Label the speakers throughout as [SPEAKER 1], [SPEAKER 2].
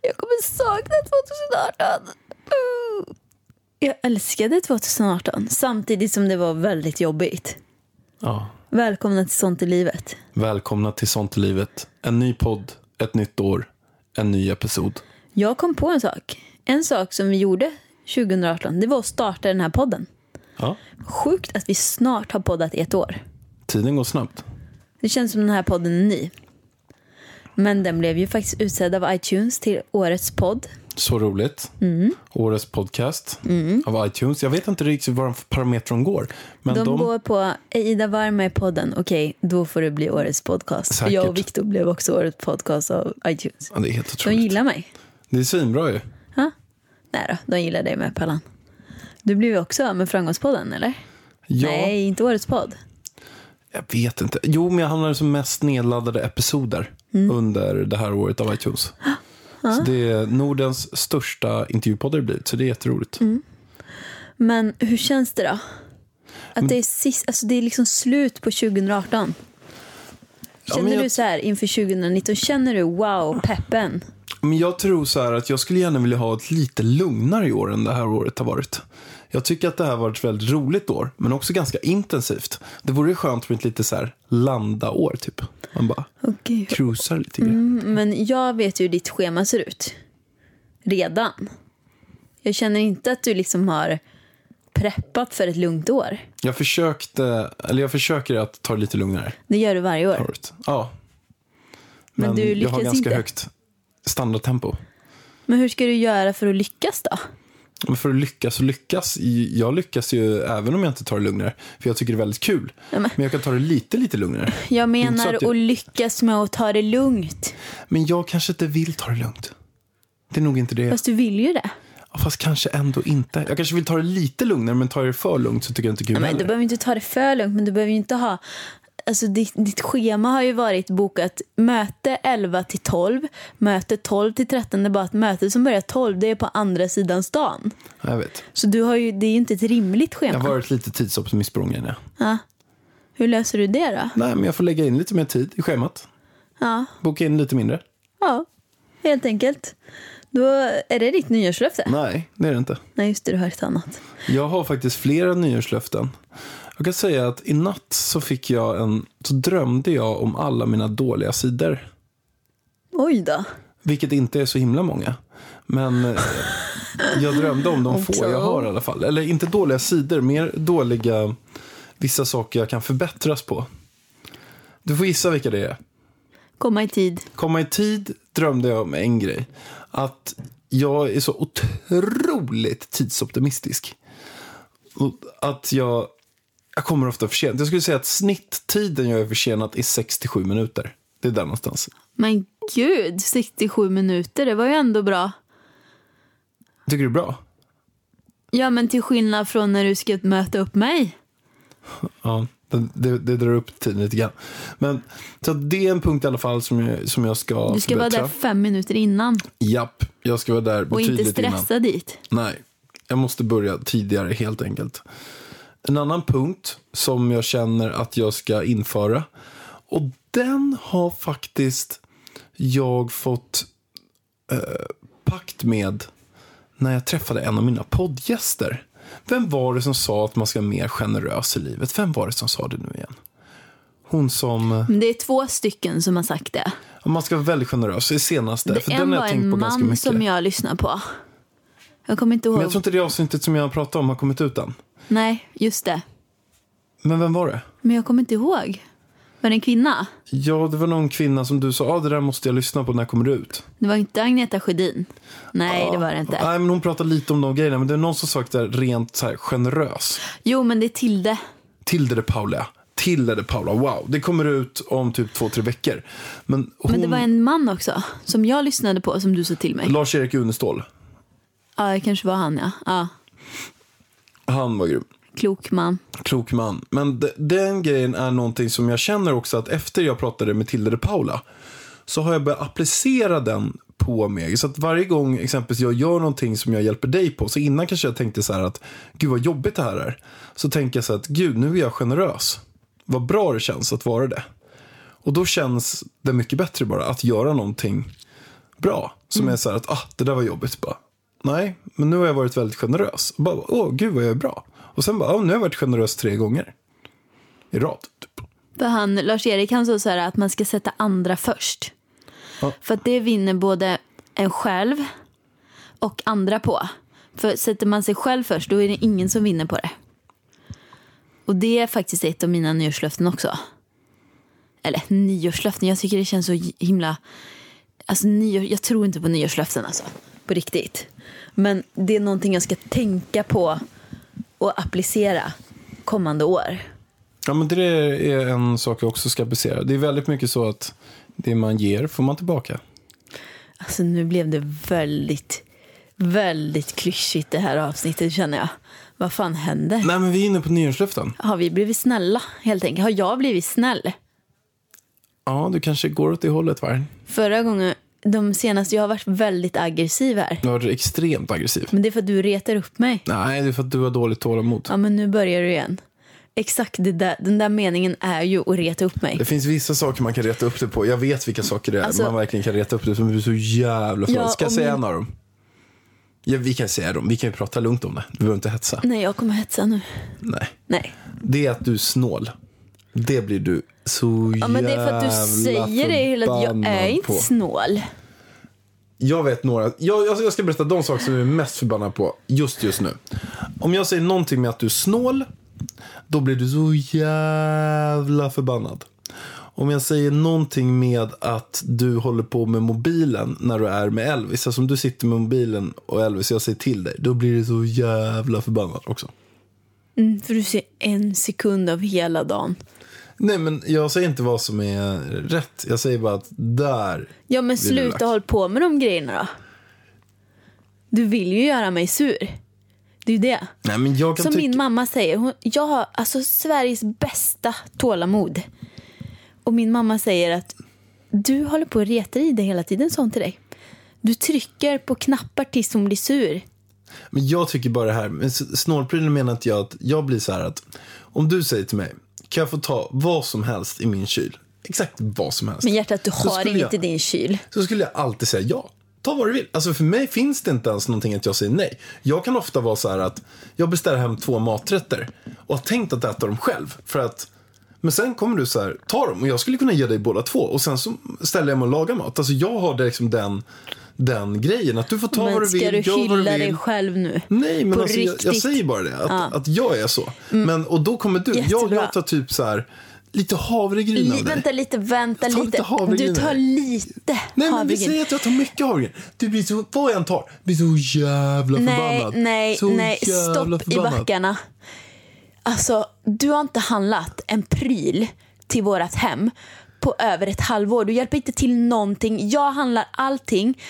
[SPEAKER 1] Jag kommer sakna 2018. Uh. Jag älskade 2018, samtidigt som det var väldigt jobbigt.
[SPEAKER 2] Ja.
[SPEAKER 1] Välkomna till Sånt i livet.
[SPEAKER 2] Välkomna till Sånt i livet. En ny podd, ett nytt år, en ny episod.
[SPEAKER 1] Jag kom på en sak. En sak som vi gjorde 2018, det var att starta den här podden.
[SPEAKER 2] Ja.
[SPEAKER 1] Sjukt att vi snart har poddat i ett år.
[SPEAKER 2] Tiden går snabbt.
[SPEAKER 1] Det känns som den här podden är ny. Men den blev ju faktiskt utsedd av iTunes till årets podd.
[SPEAKER 2] Så roligt.
[SPEAKER 1] Mm.
[SPEAKER 2] Årets podcast av iTunes. Jag vet inte riktigt var de parametrarna går. Men
[SPEAKER 1] De,
[SPEAKER 2] de,
[SPEAKER 1] går på "Är Ida Varma i podden, okej, då får det bli årets podcast.
[SPEAKER 2] Säkert.
[SPEAKER 1] Jag och Viktor blev också årets podcast av iTunes.
[SPEAKER 2] Ja, det är helt
[SPEAKER 1] De
[SPEAKER 2] otroligt.
[SPEAKER 1] gillar mig.
[SPEAKER 2] Det är svinbra ju.
[SPEAKER 1] Ha? Nej då, de gillar dig med Pallan. Du blev ju också av med Framgångspodden, eller?
[SPEAKER 2] Ja,
[SPEAKER 1] Nej, inte årets podd.
[SPEAKER 2] jag vet inte. Jo, men jag hamnade som mest nedladdade episoder under det här året av iTunes. Så det är Nordens största intervjupodd har det blivit, så det är jätteroligt.
[SPEAKER 1] Men hur känns det då?
[SPEAKER 2] Mm.
[SPEAKER 1] Att det är, sist, alltså det är liksom slut på 2018.
[SPEAKER 2] Ja,
[SPEAKER 1] Känner
[SPEAKER 2] men jag-
[SPEAKER 1] du så här inför 2019, känner du wow, peppen?
[SPEAKER 2] Men jag tror så här att jag skulle gärna vilja ha ett lite lugnare år än det här året har varit. Jag tycker att det här har varit ett väldigt roligt år, men också ganska intensivt. Det vore ju skönt med ett lite så här landa-år, typ. Man bara
[SPEAKER 1] Okay.
[SPEAKER 2] cruisar lite grann.
[SPEAKER 1] Mm. Men jag vet ju hur ditt schema ser ut. Redan. Jag känner inte att du liksom har preppat för ett lugnt år.
[SPEAKER 2] Jag försökte, eller jag försöker att ta det lite lugnare.
[SPEAKER 1] Det gör du varje år.
[SPEAKER 2] året. Ja.
[SPEAKER 1] Men du
[SPEAKER 2] jag har
[SPEAKER 1] lyckas
[SPEAKER 2] ganska
[SPEAKER 1] inte.
[SPEAKER 2] högt standardtempo.
[SPEAKER 1] Men hur ska du göra för att lyckas då?
[SPEAKER 2] Men för att lyckas och lyckas, jag lyckas ju även om jag inte tar det lugnare. För jag tycker det är väldigt kul. Men jag kan ta det lite, lite lugnare.
[SPEAKER 1] Jag
[SPEAKER 2] inte så
[SPEAKER 1] menar
[SPEAKER 2] att du-
[SPEAKER 1] att lyckas med att ta det lugnt.
[SPEAKER 2] Men jag kanske inte vill ta det lugnt. Det är nog inte det. Fast,
[SPEAKER 1] Fast du vill ju det.
[SPEAKER 2] Fast kanske ändå inte. Jag kanske vill ta det lite lugnare, men tar jag det för lugnt så tycker jag inte det är
[SPEAKER 1] Ja,
[SPEAKER 2] kul
[SPEAKER 1] men du
[SPEAKER 2] heller.
[SPEAKER 1] behöver inte ta det för lugnt, men du behöver ju inte ha... Alltså ditt, ditt schema har ju varit bokat möte 11 till 12, möte 12 till 13. Det är bara att mötet som börjar 12, det är på andra sidan stan.
[SPEAKER 2] Ja, Jag vet.
[SPEAKER 1] Så du har ju, det är ju inte ett rimligt
[SPEAKER 2] Jag
[SPEAKER 1] schema.
[SPEAKER 2] har varit lite tidsoptimist på gången, ja.
[SPEAKER 1] Hur löser du det då?
[SPEAKER 2] Nej, men jag får lägga in lite mer tid i schemat.
[SPEAKER 1] Ja,
[SPEAKER 2] Boka in lite mindre.
[SPEAKER 1] ja helt enkelt. Då är det ditt nyårslöfte.
[SPEAKER 2] Nej, det är det inte.
[SPEAKER 1] Nej, just det, du har ett annat.
[SPEAKER 2] Jag har faktiskt flera nyårslöften. Jag kan säga att i natt så fick jag en, så drömde jag om alla mina dåliga sidor.
[SPEAKER 1] Oj då.
[SPEAKER 2] Vilket inte är så himla många. Men eh, jag drömde om de få jag har i alla fall. Eller inte dåliga sidor, mer dåliga, vissa saker jag kan förbättras på. Du får gissa vilka det är.
[SPEAKER 1] Komma i tid.
[SPEAKER 2] Komma i tid drömde jag om en grej. Att jag är så otroligt tidsoptimistisk. Och Att jag, jag kommer ofta för sent. Jag skulle säga att snitttiden jag är försenad är 67 minuter. Det är där någonstans.
[SPEAKER 1] Men gud, 67 minuter, det var ju ändå bra.
[SPEAKER 2] Tycker du det är bra?
[SPEAKER 1] Ja, men till skillnad från när du ska möta upp mig.
[SPEAKER 2] Ja, det, det, det drar upp tiden lite grann. Men så att det är en punkt i alla fall som jag, som jag ska
[SPEAKER 1] Du ska vara där fem minuter innan
[SPEAKER 2] Japp, jag ska vara där
[SPEAKER 1] och inte
[SPEAKER 2] betydligt innan.
[SPEAKER 1] stressa dit.
[SPEAKER 2] Nej, jag måste börja tidigare helt enkelt. En annan punkt som jag känner att jag ska införa och den har faktiskt jag fått eh, pakt med när jag träffade en av mina poddgäster. Vem var det som sa att man ska vara mer generös i livet? Vem var det som sa det nu igen? Hon som... eh,
[SPEAKER 1] Men det är två stycken som har sagt det.
[SPEAKER 2] ja, Man ska vara väldigt generös i senaste. för
[SPEAKER 1] en
[SPEAKER 2] den har
[SPEAKER 1] var
[SPEAKER 2] jag tänkt
[SPEAKER 1] en
[SPEAKER 2] på ganska
[SPEAKER 1] man
[SPEAKER 2] mycket.
[SPEAKER 1] som jag lyssnar på. Jag kommer inte ihåg.
[SPEAKER 2] Men jag tror inte det avsnittet som jag pratade om har kommit ut än.
[SPEAKER 1] Nej, just det.
[SPEAKER 2] Men vem var det?
[SPEAKER 1] Men jag kommer inte ihåg. Var det en kvinna?
[SPEAKER 2] Ja, det var någon kvinna som du sa, ah, det där måste jag lyssna på, när kommer det ut?
[SPEAKER 1] Det var inte Agneta Sjödin. Nej, det var det inte.
[SPEAKER 2] Nej, men hon pratade lite om de grejerna, men det är någon som sagt där rent så här, generös.
[SPEAKER 1] Jo, men det är Tilde.
[SPEAKER 2] Tilde de Paula. Tilde de Paula, wow. Det kommer ut om typ två, tre veckor. Men hon,
[SPEAKER 1] Men det var en man också, som jag lyssnade på, som du sa till mig.
[SPEAKER 2] Lars-Erik Unestål,
[SPEAKER 1] Ja, det kanske var han, ja. ja.
[SPEAKER 2] han var grym.
[SPEAKER 1] Klok man.
[SPEAKER 2] Klok man. Men de, den grejen är någonting som jag känner också att efter jag pratade med Tilde de Paula så har jag börjat applicera den på mig. Så att varje gång exempelvis jag gör någonting som jag hjälper dig på, så innan kanske jag tänkte så här att gud vad jobbigt det här är. Så tänker jag så här att gud nu är jag generös. Vad bra det känns att vara det. Och då känns det mycket bättre bara att göra någonting bra. Som är så här att ah, det där var jobbigt. Bara, Nej, men nu har jag varit väldigt generös. Och bara, åh gud vad jag är bra. Och sen bara, åh, nu har jag varit generös tre gånger. I rad. Typ.
[SPEAKER 1] För han, Lars-Erik, han sa så här att man ska sätta andra först.
[SPEAKER 2] Ja.
[SPEAKER 1] För att det vinner både en själv och andra på. För sätter man sig själv först, då är det ingen som vinner på det. Och det är faktiskt ett av mina nyårslöften också. Eller nyårslöften, jag tycker det känns så himla... Alltså nyår, jag tror inte på nyårslöften alltså. På riktigt. Men det är någonting jag ska tänka på och applicera kommande år.
[SPEAKER 2] Ja, men det är en sak jag också ska applicera. Det är väldigt mycket så att det man ger får man tillbaka.
[SPEAKER 1] Alltså nu blev det väldigt, väldigt klyschigt det här avsnittet känner jag. Vad fan händer?
[SPEAKER 2] Nej, men vi är inne på nyårslöften.
[SPEAKER 1] Har vi blivit snälla helt enkelt? Har jag blivit snäll?
[SPEAKER 2] Ja, du kanske går åt det hållet, va?
[SPEAKER 1] Förra gången, de senaste, jag har varit väldigt aggressiv här.
[SPEAKER 2] Du har varit extremt aggressiv.
[SPEAKER 1] Men det är för att du retar upp mig.
[SPEAKER 2] Nej, det är för att du har dåligt tålamod.
[SPEAKER 1] Ja men nu börjar du igen. Exakt det där, den där meningen är ju att reta upp mig.
[SPEAKER 2] Det finns vissa saker man kan reta upp det på. Jag vet vilka saker det är
[SPEAKER 1] Alltså-
[SPEAKER 2] man verkligen kan reta upp det på. Men du är så jävla full.
[SPEAKER 1] Ja,
[SPEAKER 2] Ska jag
[SPEAKER 1] och
[SPEAKER 2] säga
[SPEAKER 1] min-
[SPEAKER 2] en av dem? Ja, vi kan säga dem. Vi kan ju prata lugnt om det. Du behöver inte hetsa.
[SPEAKER 1] Nej jag kommer hetsa nu.
[SPEAKER 2] Nej.
[SPEAKER 1] Nej.
[SPEAKER 2] Det är att du är snål. Det blir du så jävla
[SPEAKER 1] Ja men det är för att du säger det hela tiden. Jag är
[SPEAKER 2] förbannad
[SPEAKER 1] inte
[SPEAKER 2] på.
[SPEAKER 1] snål.
[SPEAKER 2] Jag vet några. Jag, jag, jag ska berätta de saker som jag är mest förbannad på just just nu. Om jag säger någonting med att du är snål, då blir du så jävla förbannad. Om jag säger någonting med att du håller på med mobilen när du är med Elvis. Alltså om du sitter med mobilen och Elvis, jag säger till dig. Då blir du så jävla förbannad också.
[SPEAKER 1] Mm, för du ser en sekund av hela dagen.
[SPEAKER 2] Nej men jag säger inte vad som är rätt. Jag säger bara att där
[SPEAKER 1] Ja men
[SPEAKER 2] Vill du lax?
[SPEAKER 1] sluta håll på med de grejerna då. Du vill ju göra mig sur. Det är ju det.
[SPEAKER 2] Nej, men jag kan
[SPEAKER 1] Som
[SPEAKER 2] tycka...
[SPEAKER 1] min mamma säger, hon, jag har alltså Sveriges bästa tålamod. Och min mamma säger att du håller på och retar i det hela tiden, sa hon till dig. Du trycker på knappar tills hon blir sur.
[SPEAKER 2] Men jag tycker bara det här, men s- snålprylen menar inte jag att jag blir så här att om du säger till mig, kan jag få ta vad som helst i min kyl? Exakt vad som helst.
[SPEAKER 1] Men hjärtat, du
[SPEAKER 2] Så
[SPEAKER 1] har
[SPEAKER 2] skulle
[SPEAKER 1] inget
[SPEAKER 2] jag-
[SPEAKER 1] i din kyl.
[SPEAKER 2] Så skulle jag alltid säga ja. Ta vad du vill. Alltså för mig finns det inte ens någonting att jag säger nej. Jag kan ofta vara så här att jag beställer hem två maträtter och har tänkt att äta dem själv. För att, men sen kommer du så här, ta dem och jag skulle kunna ge dig båda två. Och sen så ställer jag mig och lagar mat. Alltså jag har det liksom den, den grejen att du får ta
[SPEAKER 1] Men
[SPEAKER 2] vad du
[SPEAKER 1] ska
[SPEAKER 2] vill,
[SPEAKER 1] du
[SPEAKER 2] gör vad
[SPEAKER 1] hylla
[SPEAKER 2] du vill.
[SPEAKER 1] dig själv nu?
[SPEAKER 2] Nej, men
[SPEAKER 1] På
[SPEAKER 2] alltså, jag, jag
[SPEAKER 1] riktigt. Mm.
[SPEAKER 2] säger bara det. Att, att jag är så. Men, och då kommer du. Jag,
[SPEAKER 1] Jättebra.
[SPEAKER 2] jag tar typ så här, lite havregryn
[SPEAKER 1] Li-
[SPEAKER 2] av dig.
[SPEAKER 1] vänta lite, vänta
[SPEAKER 2] Ta
[SPEAKER 1] lite.
[SPEAKER 2] lite havregryn
[SPEAKER 1] Du tar
[SPEAKER 2] här.
[SPEAKER 1] lite
[SPEAKER 2] Nej, men vi
[SPEAKER 1] havregryn.
[SPEAKER 2] säger att jag tar mycket havregryn. Du blir så, vad jag än tar, blir så jävla
[SPEAKER 1] Nej,
[SPEAKER 2] förbannad.
[SPEAKER 1] nej,
[SPEAKER 2] så
[SPEAKER 1] nej.
[SPEAKER 2] jävla
[SPEAKER 1] Stopp
[SPEAKER 2] förbannad.
[SPEAKER 1] i backarna. Alltså, du har inte handlat en pryl till vårt hem på över ett halvår. Du hjälper inte till någonting. Jag handlar allting.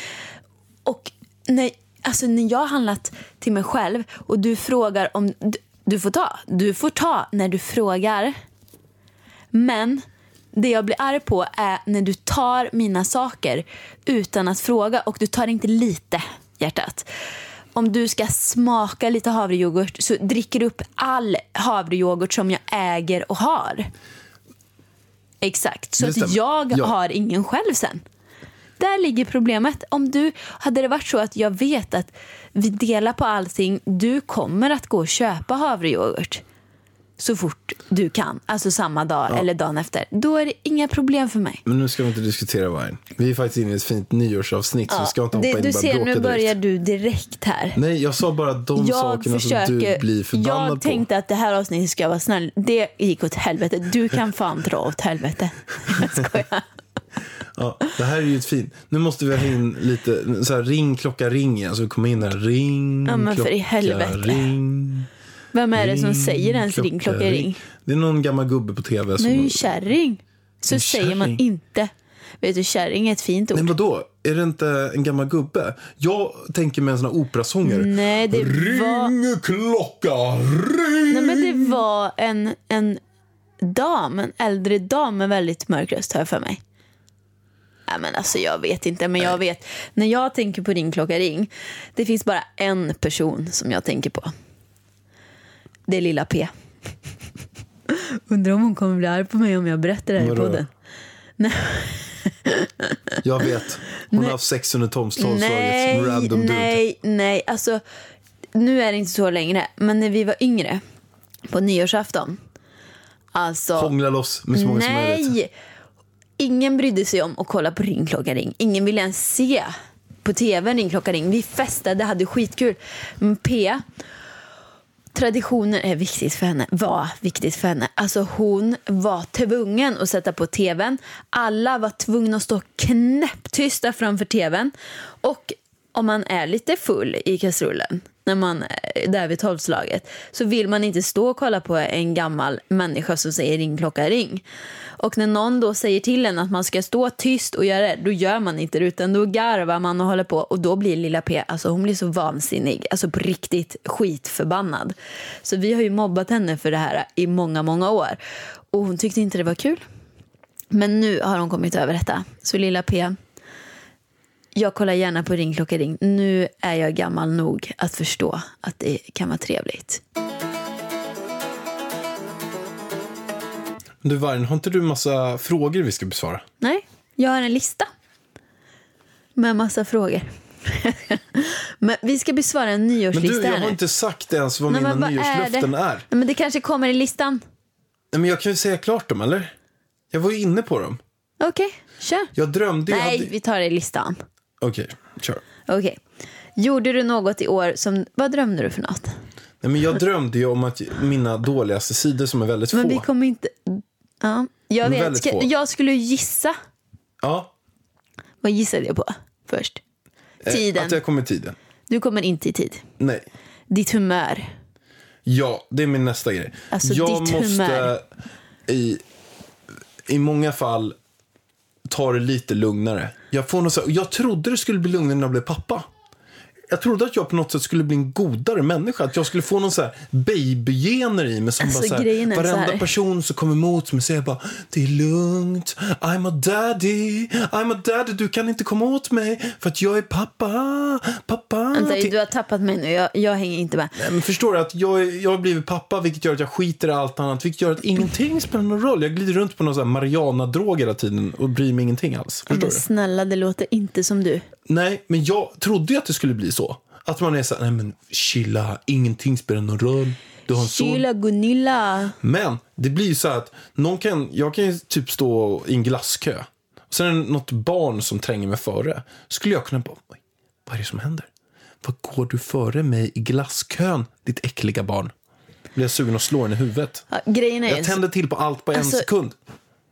[SPEAKER 1] Och när, alltså, när jag har handlat till mig själv och du frågar om... Du, du får ta. Du får ta när du frågar. Men det jag blir arg på är när du tar mina saker utan att fråga och du tar inte lite, hjärtat. Om du ska smaka lite havrejoghurt så dricker du upp all havrejoghurt som jag äger och har. Exakt, så
[SPEAKER 2] Det
[SPEAKER 1] att
[SPEAKER 2] stämmer.
[SPEAKER 1] jag
[SPEAKER 2] Ja.
[SPEAKER 1] har ingen själv sen. Där ligger problemet. Om du, hade det varit så att jag vet att vi delar på allting, du kommer att gå och köpa havrejoghurt. så fort du kan. Alltså samma dag eller dagen efter. Då är det inga problem för mig.
[SPEAKER 2] Men nu ska vi inte diskutera wine. Vi är faktiskt inne i ett fint nyårsavsnitt så vi ska inte hoppa
[SPEAKER 1] det,
[SPEAKER 2] in och
[SPEAKER 1] du
[SPEAKER 2] börja
[SPEAKER 1] ser,
[SPEAKER 2] bråka
[SPEAKER 1] nu börjar
[SPEAKER 2] direkt.
[SPEAKER 1] du direkt här.
[SPEAKER 2] Nej, jag sa bara de sakerna som du blir förbannad
[SPEAKER 1] jag tänkte att det här avsnittet ska vara snäll. Det gick åt helvete. Du kan fan dra åt helvete. Jag skojar.
[SPEAKER 2] på. Ja, det här är ju ett fint. Nu måste vi ha in lite, så här, ring klocka ring igen. Så vi kommer in här, ring
[SPEAKER 1] Ja, men för i
[SPEAKER 2] klocka
[SPEAKER 1] helvete.
[SPEAKER 2] ring.
[SPEAKER 1] Vem är det som säger ens ring, klocka, ring?
[SPEAKER 2] Det är någon gammal gubbe på tv som...
[SPEAKER 1] Nu är ju kärring. Så
[SPEAKER 2] En
[SPEAKER 1] säger man
[SPEAKER 2] kärring.
[SPEAKER 1] inte. Vet du, kärring är ett fint ord.
[SPEAKER 2] Nej, vadå? Är det inte en gammal gubbe? Jag tänker med en sån här operasångare.
[SPEAKER 1] Nej, det var...
[SPEAKER 2] Ring klocka, ring!
[SPEAKER 1] Nej, men det var en, en dam, en äldre dam med väldigt mörk röst, har jag för mig. Nej, men alltså, jag vet inte, men jag vet. När jag tänker på Ring klocka ring, det finns bara en person som jag tänker på. Det är lilla P. Undrar om hon kommer bli arg på mig om jag berättar det här i
[SPEAKER 2] Vadå?
[SPEAKER 1] podden.
[SPEAKER 2] Jag vet. Hon har haft sex under
[SPEAKER 1] Nej,
[SPEAKER 2] tolvslaget. Random dude.
[SPEAKER 1] nej, nej. Alltså, nu är det inte så längre, men när vi var yngre, på nyårsafton. Alltså,
[SPEAKER 2] Hångla loss med så många som möjligt.
[SPEAKER 1] Nej! Ingen brydde sig om att kolla på Ring klocka ring. Ingen ville ens se på tv Ring klocka ring. Vi festade, hade skitkul. Men P, traditioner är viktigt för henne. Var viktigt för henne. Alltså hon var tvungen att sätta på tvn. Alla var tvungna att stå knäpptysta framför tvn. Och om man är lite full i kastrullen, när man är där vid tolvslaget, så vill man inte stå och kolla på en gammal människa som säger ring klocka ring. Och när någon då säger till en att man ska stå tyst och göra det, då gör man inte det utan då garvar man och håller på och då blir lilla P, alltså hon blir så vansinnig, alltså på riktigt skitförbannad. Så vi har ju mobbat henne för det här i många, många år och hon tyckte inte det var kul. Men nu har hon kommit över detta. Så lilla P, jag kollar gärna på Ring klocka ring. Nu är jag gammal nog att förstå att det kan vara trevligt.
[SPEAKER 2] Du Vargen, har inte du massa frågor vi ska besvara?
[SPEAKER 1] Nej, jag har en lista med massa frågor. men vi ska besvara en
[SPEAKER 2] Men
[SPEAKER 1] nyårslista
[SPEAKER 2] du, jag
[SPEAKER 1] här
[SPEAKER 2] har
[SPEAKER 1] nu.
[SPEAKER 2] inte sagt ens vad
[SPEAKER 1] Nej, men
[SPEAKER 2] mina
[SPEAKER 1] vad är det?
[SPEAKER 2] nyårslöften är.
[SPEAKER 1] Nej, men det kanske kommer i listan.
[SPEAKER 2] Nej, men jag kan ju säga klart dem, eller? Jag var ju inne på dem.
[SPEAKER 1] Okej, kör.
[SPEAKER 2] Jag drömde ju...
[SPEAKER 1] Nej,
[SPEAKER 2] hade-
[SPEAKER 1] vi tar det i listan.
[SPEAKER 2] Okej, kör.
[SPEAKER 1] Okej. Gjorde du något i år som... Vad drömde du för något?
[SPEAKER 2] Nej, men jag drömde ju om att mina dåligaste sidor som är väldigt få.
[SPEAKER 1] Men vi kommer inte... Ja, jag
[SPEAKER 2] Men
[SPEAKER 1] vet.
[SPEAKER 2] väldigt
[SPEAKER 1] Ska,
[SPEAKER 2] få.
[SPEAKER 1] jag skulle gissa.
[SPEAKER 2] Ja,
[SPEAKER 1] Vad gissade jag på först?
[SPEAKER 2] eh,
[SPEAKER 1] Tiden.
[SPEAKER 2] Att jag kom i tiden.
[SPEAKER 1] Du kommer inte i tid.
[SPEAKER 2] Nej.
[SPEAKER 1] Ditt humör.
[SPEAKER 2] Ja, det är min nästa grej.
[SPEAKER 1] Alltså,
[SPEAKER 2] jag
[SPEAKER 1] ditt
[SPEAKER 2] måste
[SPEAKER 1] humör.
[SPEAKER 2] i, i många fall ta det lite lugnare. Jag, får något så här, jag trodde det skulle bli lugnare när jag blev pappa. Jag trodde att jag på något sätt skulle bli en godare människa. Att jag skulle få någon så här babygener i mig. Som
[SPEAKER 1] Alltså,
[SPEAKER 2] bara så
[SPEAKER 1] grejen är
[SPEAKER 2] här,
[SPEAKER 1] så
[SPEAKER 2] varenda
[SPEAKER 1] här.
[SPEAKER 2] person som kommer emot mig säger bara Det är lugnt, I'm a daddy, I'm a daddy, du kan inte komma åt mig för att jag är pappa, pappa.
[SPEAKER 1] Vänta,
[SPEAKER 2] till-
[SPEAKER 1] du har tappat mig nu. Jag, jag hänger inte med.
[SPEAKER 2] Nej, Eh, Men förstår du att jag, jag har blivit pappa vilket gör att jag skiter i allt annat vilket gör att ingenting spelar någon roll. Jag glider runt på någon sån här Mariana-drog hela tiden och bryr mig ingenting alls. Förstår
[SPEAKER 1] Men
[SPEAKER 2] du?
[SPEAKER 1] snälla, det låter inte som du.
[SPEAKER 2] Nej, men jag trodde ju att det skulle bli så. Att man är såhär, nej men chilla, ingenting spelar någon roll. Du har en son.
[SPEAKER 1] Kyla Gunilla.
[SPEAKER 2] Men det blir ju så här att någon kan, jag kan ju typ stå i en glasskö. Och sen är det något barn som tränger mig före. Skulle jag kunna bara, "Oj, vad är det som händer? Vad går du före mig i glasskön, ditt äckliga barn? Blir jag sugen att slå henne i huvudet?
[SPEAKER 1] Ja, grejen är ju,
[SPEAKER 2] Jag tänder till på allt på en
[SPEAKER 1] Alltså,
[SPEAKER 2] sekund.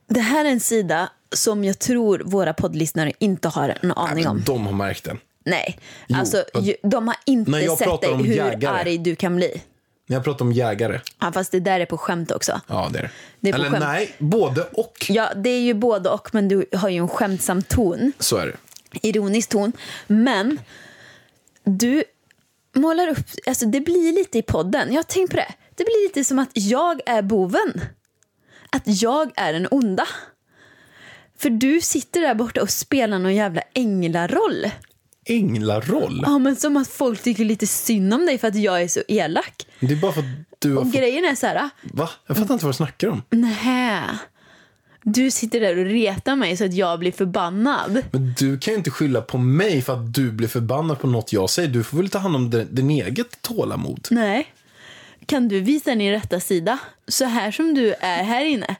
[SPEAKER 1] det här är en sida som jag tror våra poddlyssnare inte har en aning om.
[SPEAKER 2] De har märkt det.
[SPEAKER 1] Nej,
[SPEAKER 2] Jo,
[SPEAKER 1] alltså
[SPEAKER 2] och-
[SPEAKER 1] ju- de har inte
[SPEAKER 2] När jag
[SPEAKER 1] sett
[SPEAKER 2] pratar
[SPEAKER 1] dig
[SPEAKER 2] om
[SPEAKER 1] hur
[SPEAKER 2] jägare.
[SPEAKER 1] arg du kan bli.
[SPEAKER 2] När jag pratar om jägare.
[SPEAKER 1] Ja, fast det där är på skämt också.
[SPEAKER 2] Ja, det är det.
[SPEAKER 1] Det är på
[SPEAKER 2] Eller
[SPEAKER 1] skämt.
[SPEAKER 2] nej, både och.
[SPEAKER 1] Ja, det är ju både och, men du har ju en skämtsam ton.
[SPEAKER 2] Så är det.
[SPEAKER 1] ironisk ton. Men du målar upp, alltså det blir lite i podden, jag har tänkt på det. Det blir lite som att jag är boven. Att jag är den onda. För du sitter där borta och spelar någon jävla änglaroll.
[SPEAKER 2] Änglaroll.
[SPEAKER 1] Ja men som att folk tycker lite synd om dig för att jag är så elak.
[SPEAKER 2] Det är bara för att du har
[SPEAKER 1] Och
[SPEAKER 2] fått...
[SPEAKER 1] grejen är så här,
[SPEAKER 2] Va? Jag fattar inte vad du snackar om.
[SPEAKER 1] nähä. Du sitter där och retar mig så att jag blir förbannad.
[SPEAKER 2] Men du kan ju inte skylla på mig för att du blir förbannad på något jag säger. Du får väl ta hand om din, din eget tålamod.
[SPEAKER 1] Nej. kan du visa din rätta sida? Så här som du är här inne.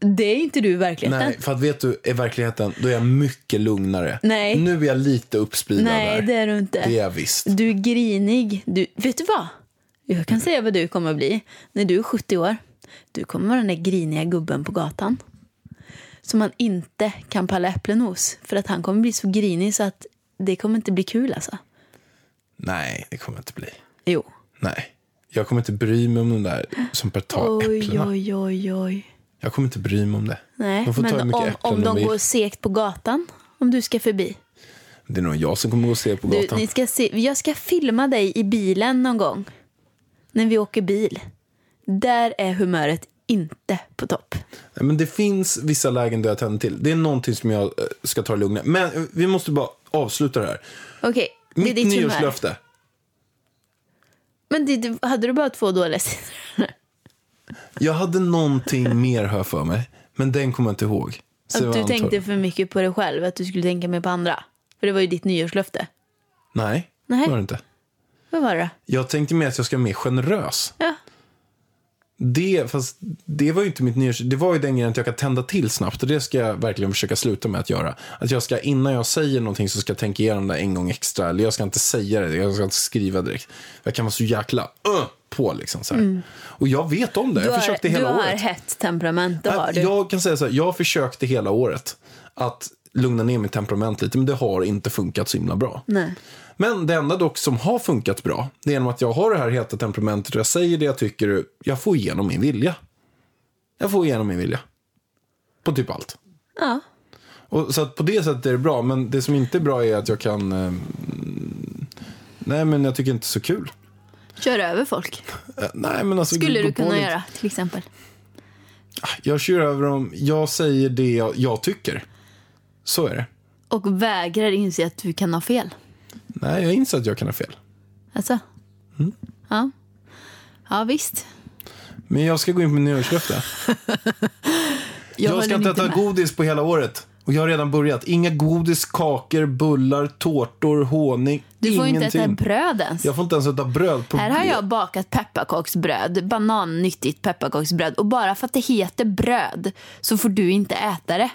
[SPEAKER 1] Det är inte du i verkligheten.
[SPEAKER 2] Nej, för att vet du, i verkligheten, då är jag mycket lugnare.
[SPEAKER 1] Nej.
[SPEAKER 2] Nu är jag lite uppspridad
[SPEAKER 1] Nej,
[SPEAKER 2] där.
[SPEAKER 1] det är du inte.
[SPEAKER 2] Det är jag visst.
[SPEAKER 1] Du är grinig. Du, vet du vad? Jag kan säga vad du kommer bli när du är 70 år. Du kommer vara den där griniga gubben på gatan. Som man inte kan palla äpplen hos. För att han kommer bli så grinig så att det kommer inte bli kul alltså.
[SPEAKER 2] Nej, det kommer jag inte bli.
[SPEAKER 1] Jo.
[SPEAKER 2] Nej. Jag kommer inte bry mig om de där som per ta
[SPEAKER 1] Oj,
[SPEAKER 2] äpplena.
[SPEAKER 1] oj, oj, oj.
[SPEAKER 2] Jag kommer inte bry mig om det.
[SPEAKER 1] Nej,
[SPEAKER 2] de får ta hur
[SPEAKER 1] men
[SPEAKER 2] mycket
[SPEAKER 1] om,
[SPEAKER 2] äpplen
[SPEAKER 1] om de
[SPEAKER 2] vill.
[SPEAKER 1] går segt på gatan. Om du ska förbi.
[SPEAKER 2] Det är nog jag som kommer gå och se på
[SPEAKER 1] Du,
[SPEAKER 2] gatan.
[SPEAKER 1] ni ska se, jag ska filma dig i bilen någon gång. När vi åker bil. Där är humöret inte på topp.
[SPEAKER 2] Nej, Men det finns vissa lägen där jag tänder till. Det är någonting som jag eh, ska ta det lugna. Men eh, vi måste bara avsluta det här.
[SPEAKER 1] Okej, det är
[SPEAKER 2] Mitt
[SPEAKER 1] ditt humör.
[SPEAKER 2] nyårslöfte.
[SPEAKER 1] Men det, det, hade du bara två dåliga sidor?
[SPEAKER 2] Jag hade någonting mer här för mig. Men den kommer jag inte ihåg. Så jag
[SPEAKER 1] Att du
[SPEAKER 2] antar-
[SPEAKER 1] tänkte för mycket på dig själv, att du skulle tänka mer på andra. För det var ju ditt nyårslöfte.
[SPEAKER 2] Nej,
[SPEAKER 1] Nej.
[SPEAKER 2] det var det inte.
[SPEAKER 1] Vad var det då?
[SPEAKER 2] Jag tänkte mer att jag ska vara mer generös.
[SPEAKER 1] Ja.
[SPEAKER 2] Det, fast det var ju inte mitt nyårs... Det var ju den grejen att jag kan tända till snabbt. Och det ska jag verkligen försöka sluta med att göra. Att jag ska, innan jag säger någonting så ska jag tänka igenom det en gång extra. Eller jag ska inte säga det, jag ska inte skriva direkt. Jag kan vara så jäkla "Ugh!" på liksom så här. Och jag vet om det,
[SPEAKER 1] Mm. Du
[SPEAKER 2] jag
[SPEAKER 1] har,
[SPEAKER 2] försökte
[SPEAKER 1] du
[SPEAKER 2] hela
[SPEAKER 1] har
[SPEAKER 2] året.
[SPEAKER 1] hett temperament, det har
[SPEAKER 2] Att
[SPEAKER 1] du.
[SPEAKER 2] Jag kan säga så här, jag försökte hela året att lugna ner mitt temperament lite, men det har inte funkat så himla bra.
[SPEAKER 1] Nej.
[SPEAKER 2] Men det enda dock som har funkat bra, det är genom att jag har det här heta temperamentet och jag säger det jag tycker, och jag får igenom min vilja. Jag får igenom min vilja. På typ allt.
[SPEAKER 1] Ja.
[SPEAKER 2] Och, så att på det sättet är det bra, men det som inte är bra är att jag kan... Eh, mm, nej, men jag tycker inte det är så kul.
[SPEAKER 1] Kör över folk.
[SPEAKER 2] Eh, nej, men alltså,
[SPEAKER 1] Skulle
[SPEAKER 2] gå
[SPEAKER 1] du
[SPEAKER 2] på
[SPEAKER 1] kunna
[SPEAKER 2] lite.
[SPEAKER 1] göra, till exempel.
[SPEAKER 2] Jag kör över dem, jag säger det jag, jag tycker. Så är det.
[SPEAKER 1] Och vägrar inse att du kan ha fel.
[SPEAKER 2] Nej, jag inser att jag kan ha fel.
[SPEAKER 1] Alltså?
[SPEAKER 2] Mm.
[SPEAKER 1] Ja. Ja, visst.
[SPEAKER 2] Men jag ska gå in på nyårslöfte. Jag, ska
[SPEAKER 1] håller
[SPEAKER 2] inte äta
[SPEAKER 1] med.
[SPEAKER 2] godis på hela året. Och jag har redan börjat. Inga godis, kakor, bullar, tårtor, honung.
[SPEAKER 1] Du får ju inte
[SPEAKER 2] ingenting.
[SPEAKER 1] äta bröd ens.
[SPEAKER 2] Jag får inte ens äta bröd. På
[SPEAKER 1] Här har jag bakat pepparkaksbröd, banannyttigt pepparkaksbröd. Och bara för att det heter bröd så får du inte äta det.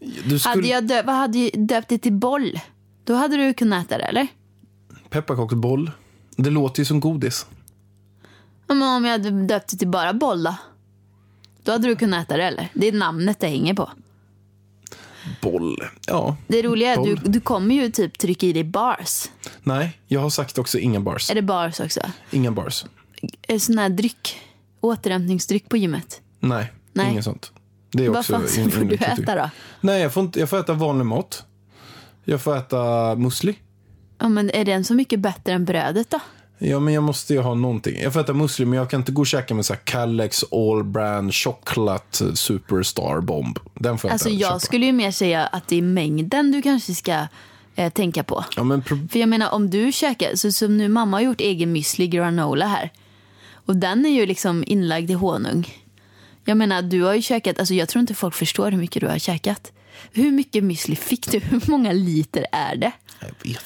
[SPEAKER 2] Du
[SPEAKER 1] Hade
[SPEAKER 2] skulle...
[SPEAKER 1] jag dö- vad hade jag döpt det till boll? Då hade du kunnat äta det, eller?
[SPEAKER 2] Pepparkaksboll. Det låter ju som godis.
[SPEAKER 1] Ja, Men om jag hade döpt det till bara boll då? Då hade du kunnat äta det, eller? Det är namnet det hänger på.
[SPEAKER 2] Boll. Ja.
[SPEAKER 1] Det roliga är att du,
[SPEAKER 2] Boll.
[SPEAKER 1] du kommer ju typ trycka i dig bars.
[SPEAKER 2] Nej, jag har sagt också inga bars.
[SPEAKER 1] Är det bars också?
[SPEAKER 2] Inga bars.
[SPEAKER 1] Eh, Sån här dryck. Återhämtningsdryck på gymmet.
[SPEAKER 2] Nej,
[SPEAKER 1] Nej.
[SPEAKER 2] inget sånt. Det är
[SPEAKER 1] Vad
[SPEAKER 2] också
[SPEAKER 1] fan
[SPEAKER 2] in-
[SPEAKER 1] får du
[SPEAKER 2] inriktat i-
[SPEAKER 1] äta då?
[SPEAKER 2] Nej, jag får, inte, jag får äta vanlig mat. Jag får äta müsli.
[SPEAKER 1] Ja, men är den så mycket bättre än brödet då?
[SPEAKER 2] Ja, men jag måste ju ha någonting. Jag får äta musli, men jag kan inte gå och käka med så här Kalex All Brand Chocolate Superstar Bomb. Den får jag
[SPEAKER 1] Alltså
[SPEAKER 2] inte
[SPEAKER 1] jag
[SPEAKER 2] köpa.
[SPEAKER 1] skulle ju mer säga att det är mängden du kanske ska eh, tänka på.
[SPEAKER 2] Ja, men pro-
[SPEAKER 1] För jag menar om du käkar, så som nu mamma har gjort egen müsli granola här. Och den är ju liksom inlagd i honung. Jag menar du har ju käkat, alltså jag tror inte folk förstår hur mycket du har käkat. Hur mycket müsli fick du? Hur många liter är det?
[SPEAKER 2] jag vet inte.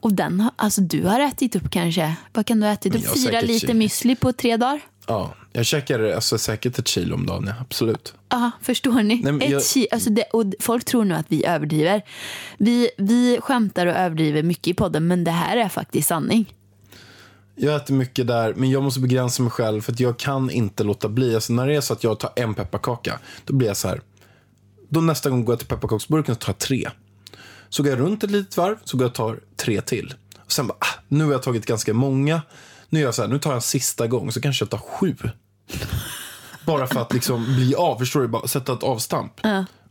[SPEAKER 1] Och den har, alltså du har ätit upp kanske, vad kan du ha ätit
[SPEAKER 2] Men jag
[SPEAKER 1] upp?
[SPEAKER 2] har
[SPEAKER 1] Fyra
[SPEAKER 2] säkert
[SPEAKER 1] liter
[SPEAKER 2] kik-
[SPEAKER 1] müsli på tre dagar?
[SPEAKER 2] Ja, jag käkar alltså, säkert ett kilo om dagen, ja, absolut.
[SPEAKER 1] Ja, förstår ni?
[SPEAKER 2] men
[SPEAKER 1] Ett
[SPEAKER 2] jag-
[SPEAKER 1] ki- alltså det, och folk tror nu att vi överdriver. Vi, vi skämtar och överdriver mycket i podden, men det här är faktiskt sanning.
[SPEAKER 2] Jag äter mycket där, men jag måste begränsa mig själv för att jag kan inte låta bli. Alltså, när det är så att jag tar en pepparkaka, då blir jag så här. Då nästa gång går jag till pepparkaksburken och tar jag tre. Så går jag runt ett litet varv, så går jag och tar tre till. Och sen bara, ah, nu har jag tagit ganska många. Nu gör jag så här, nu tar jag en sista gång, så kanske jag tar sju. Bara för att liksom bli av, förstår du? Bara sätta ett avstamp.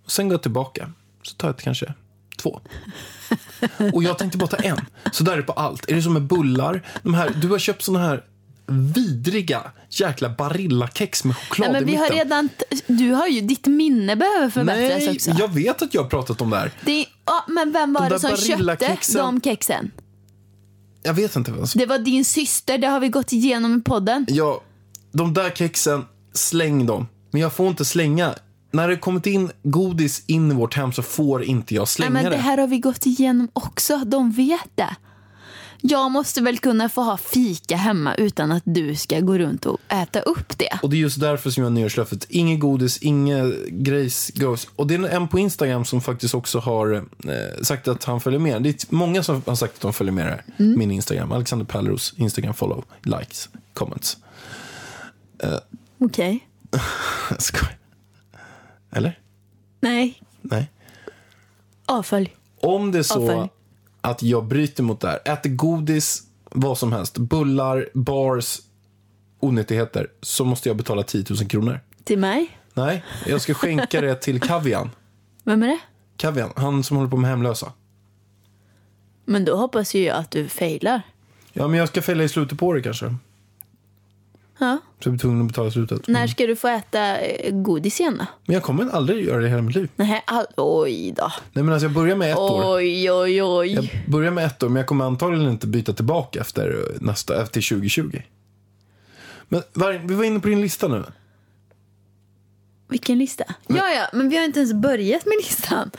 [SPEAKER 2] Och sen går jag tillbaka, så tar jag ett, kanske två. Och jag tänkte bara ta en. Så där är det på allt. Är det som med bullar? De här, du har köpt såna här vidriga jäkla Barilla-kex med choklad
[SPEAKER 1] Nej, men
[SPEAKER 2] i
[SPEAKER 1] vi har
[SPEAKER 2] mitten.
[SPEAKER 1] redan t- du har ju, ditt minne behöver förbättras
[SPEAKER 2] Nej,
[SPEAKER 1] också.
[SPEAKER 2] jag vet att jag har pratat om det här.
[SPEAKER 1] Det, är- ja, men vem var
[SPEAKER 2] De
[SPEAKER 1] det
[SPEAKER 2] där
[SPEAKER 1] som köpte
[SPEAKER 2] Barilla-kexen.
[SPEAKER 1] de kexen?
[SPEAKER 2] Jag vet inte vem som...
[SPEAKER 1] Det var din syster, det har vi gått igenom i podden.
[SPEAKER 2] Ja, de där kexen, släng dem. Men jag får inte slänga. När det kommit in godis in i vårt hem så får inte jag
[SPEAKER 1] Nej,
[SPEAKER 2] slänga
[SPEAKER 1] men det
[SPEAKER 2] det.
[SPEAKER 1] här har vi gått igenom också, de vet det. Jag måste väl kunna få ha fika hemma utan att du ska gå runt och äta upp det.
[SPEAKER 2] Och det är just därför som jag har nyårslöftet. Inget godis, inget grejs, grejs. Och det är en på Instagram som faktiskt också har eh, sagt att han följer med. Det är många som har sagt att de följer med det här.
[SPEAKER 1] Mm.
[SPEAKER 2] Min Instagram, Alexander Pärleros Instagram follow, likes, comments.
[SPEAKER 1] Okej.
[SPEAKER 2] Jag skojar. Eller?
[SPEAKER 1] Nej,
[SPEAKER 2] Nej.
[SPEAKER 1] avfölj.
[SPEAKER 2] Om det är så
[SPEAKER 1] Avfölj.
[SPEAKER 2] att jag bryter mot det här, äter godis, vad som helst, bullar, bars, onyttigheter, så måste jag betala 10 000 kronor.
[SPEAKER 1] Till mig?
[SPEAKER 2] Nej, jag ska skänka det till Kavian.
[SPEAKER 1] Vem är det?
[SPEAKER 2] Kavian, han som håller på med hemlösa.
[SPEAKER 1] Men då hoppas ju jag att du failar.
[SPEAKER 2] Ja, men jag ska fälla i slutet på året kanske.
[SPEAKER 1] Ja.
[SPEAKER 2] Så jag blir tvungen att betala i slutet.
[SPEAKER 1] När ska du få äta eh, godis igen då?
[SPEAKER 2] Men jag kommer aldrig göra det i hela mitt liv.
[SPEAKER 1] Nej, all... oj då.
[SPEAKER 2] Nej, men alltså jag börjar med ett år.
[SPEAKER 1] Oj, oj, oj.
[SPEAKER 2] Jag börjar med ett år, men jag kommer antagligen inte byta tillbaka efter, nästa, efter 2020. Men var, vi var inne på din lista nu.
[SPEAKER 1] Vilken lista? Ja, ja, men vi har inte ens börjat med listan.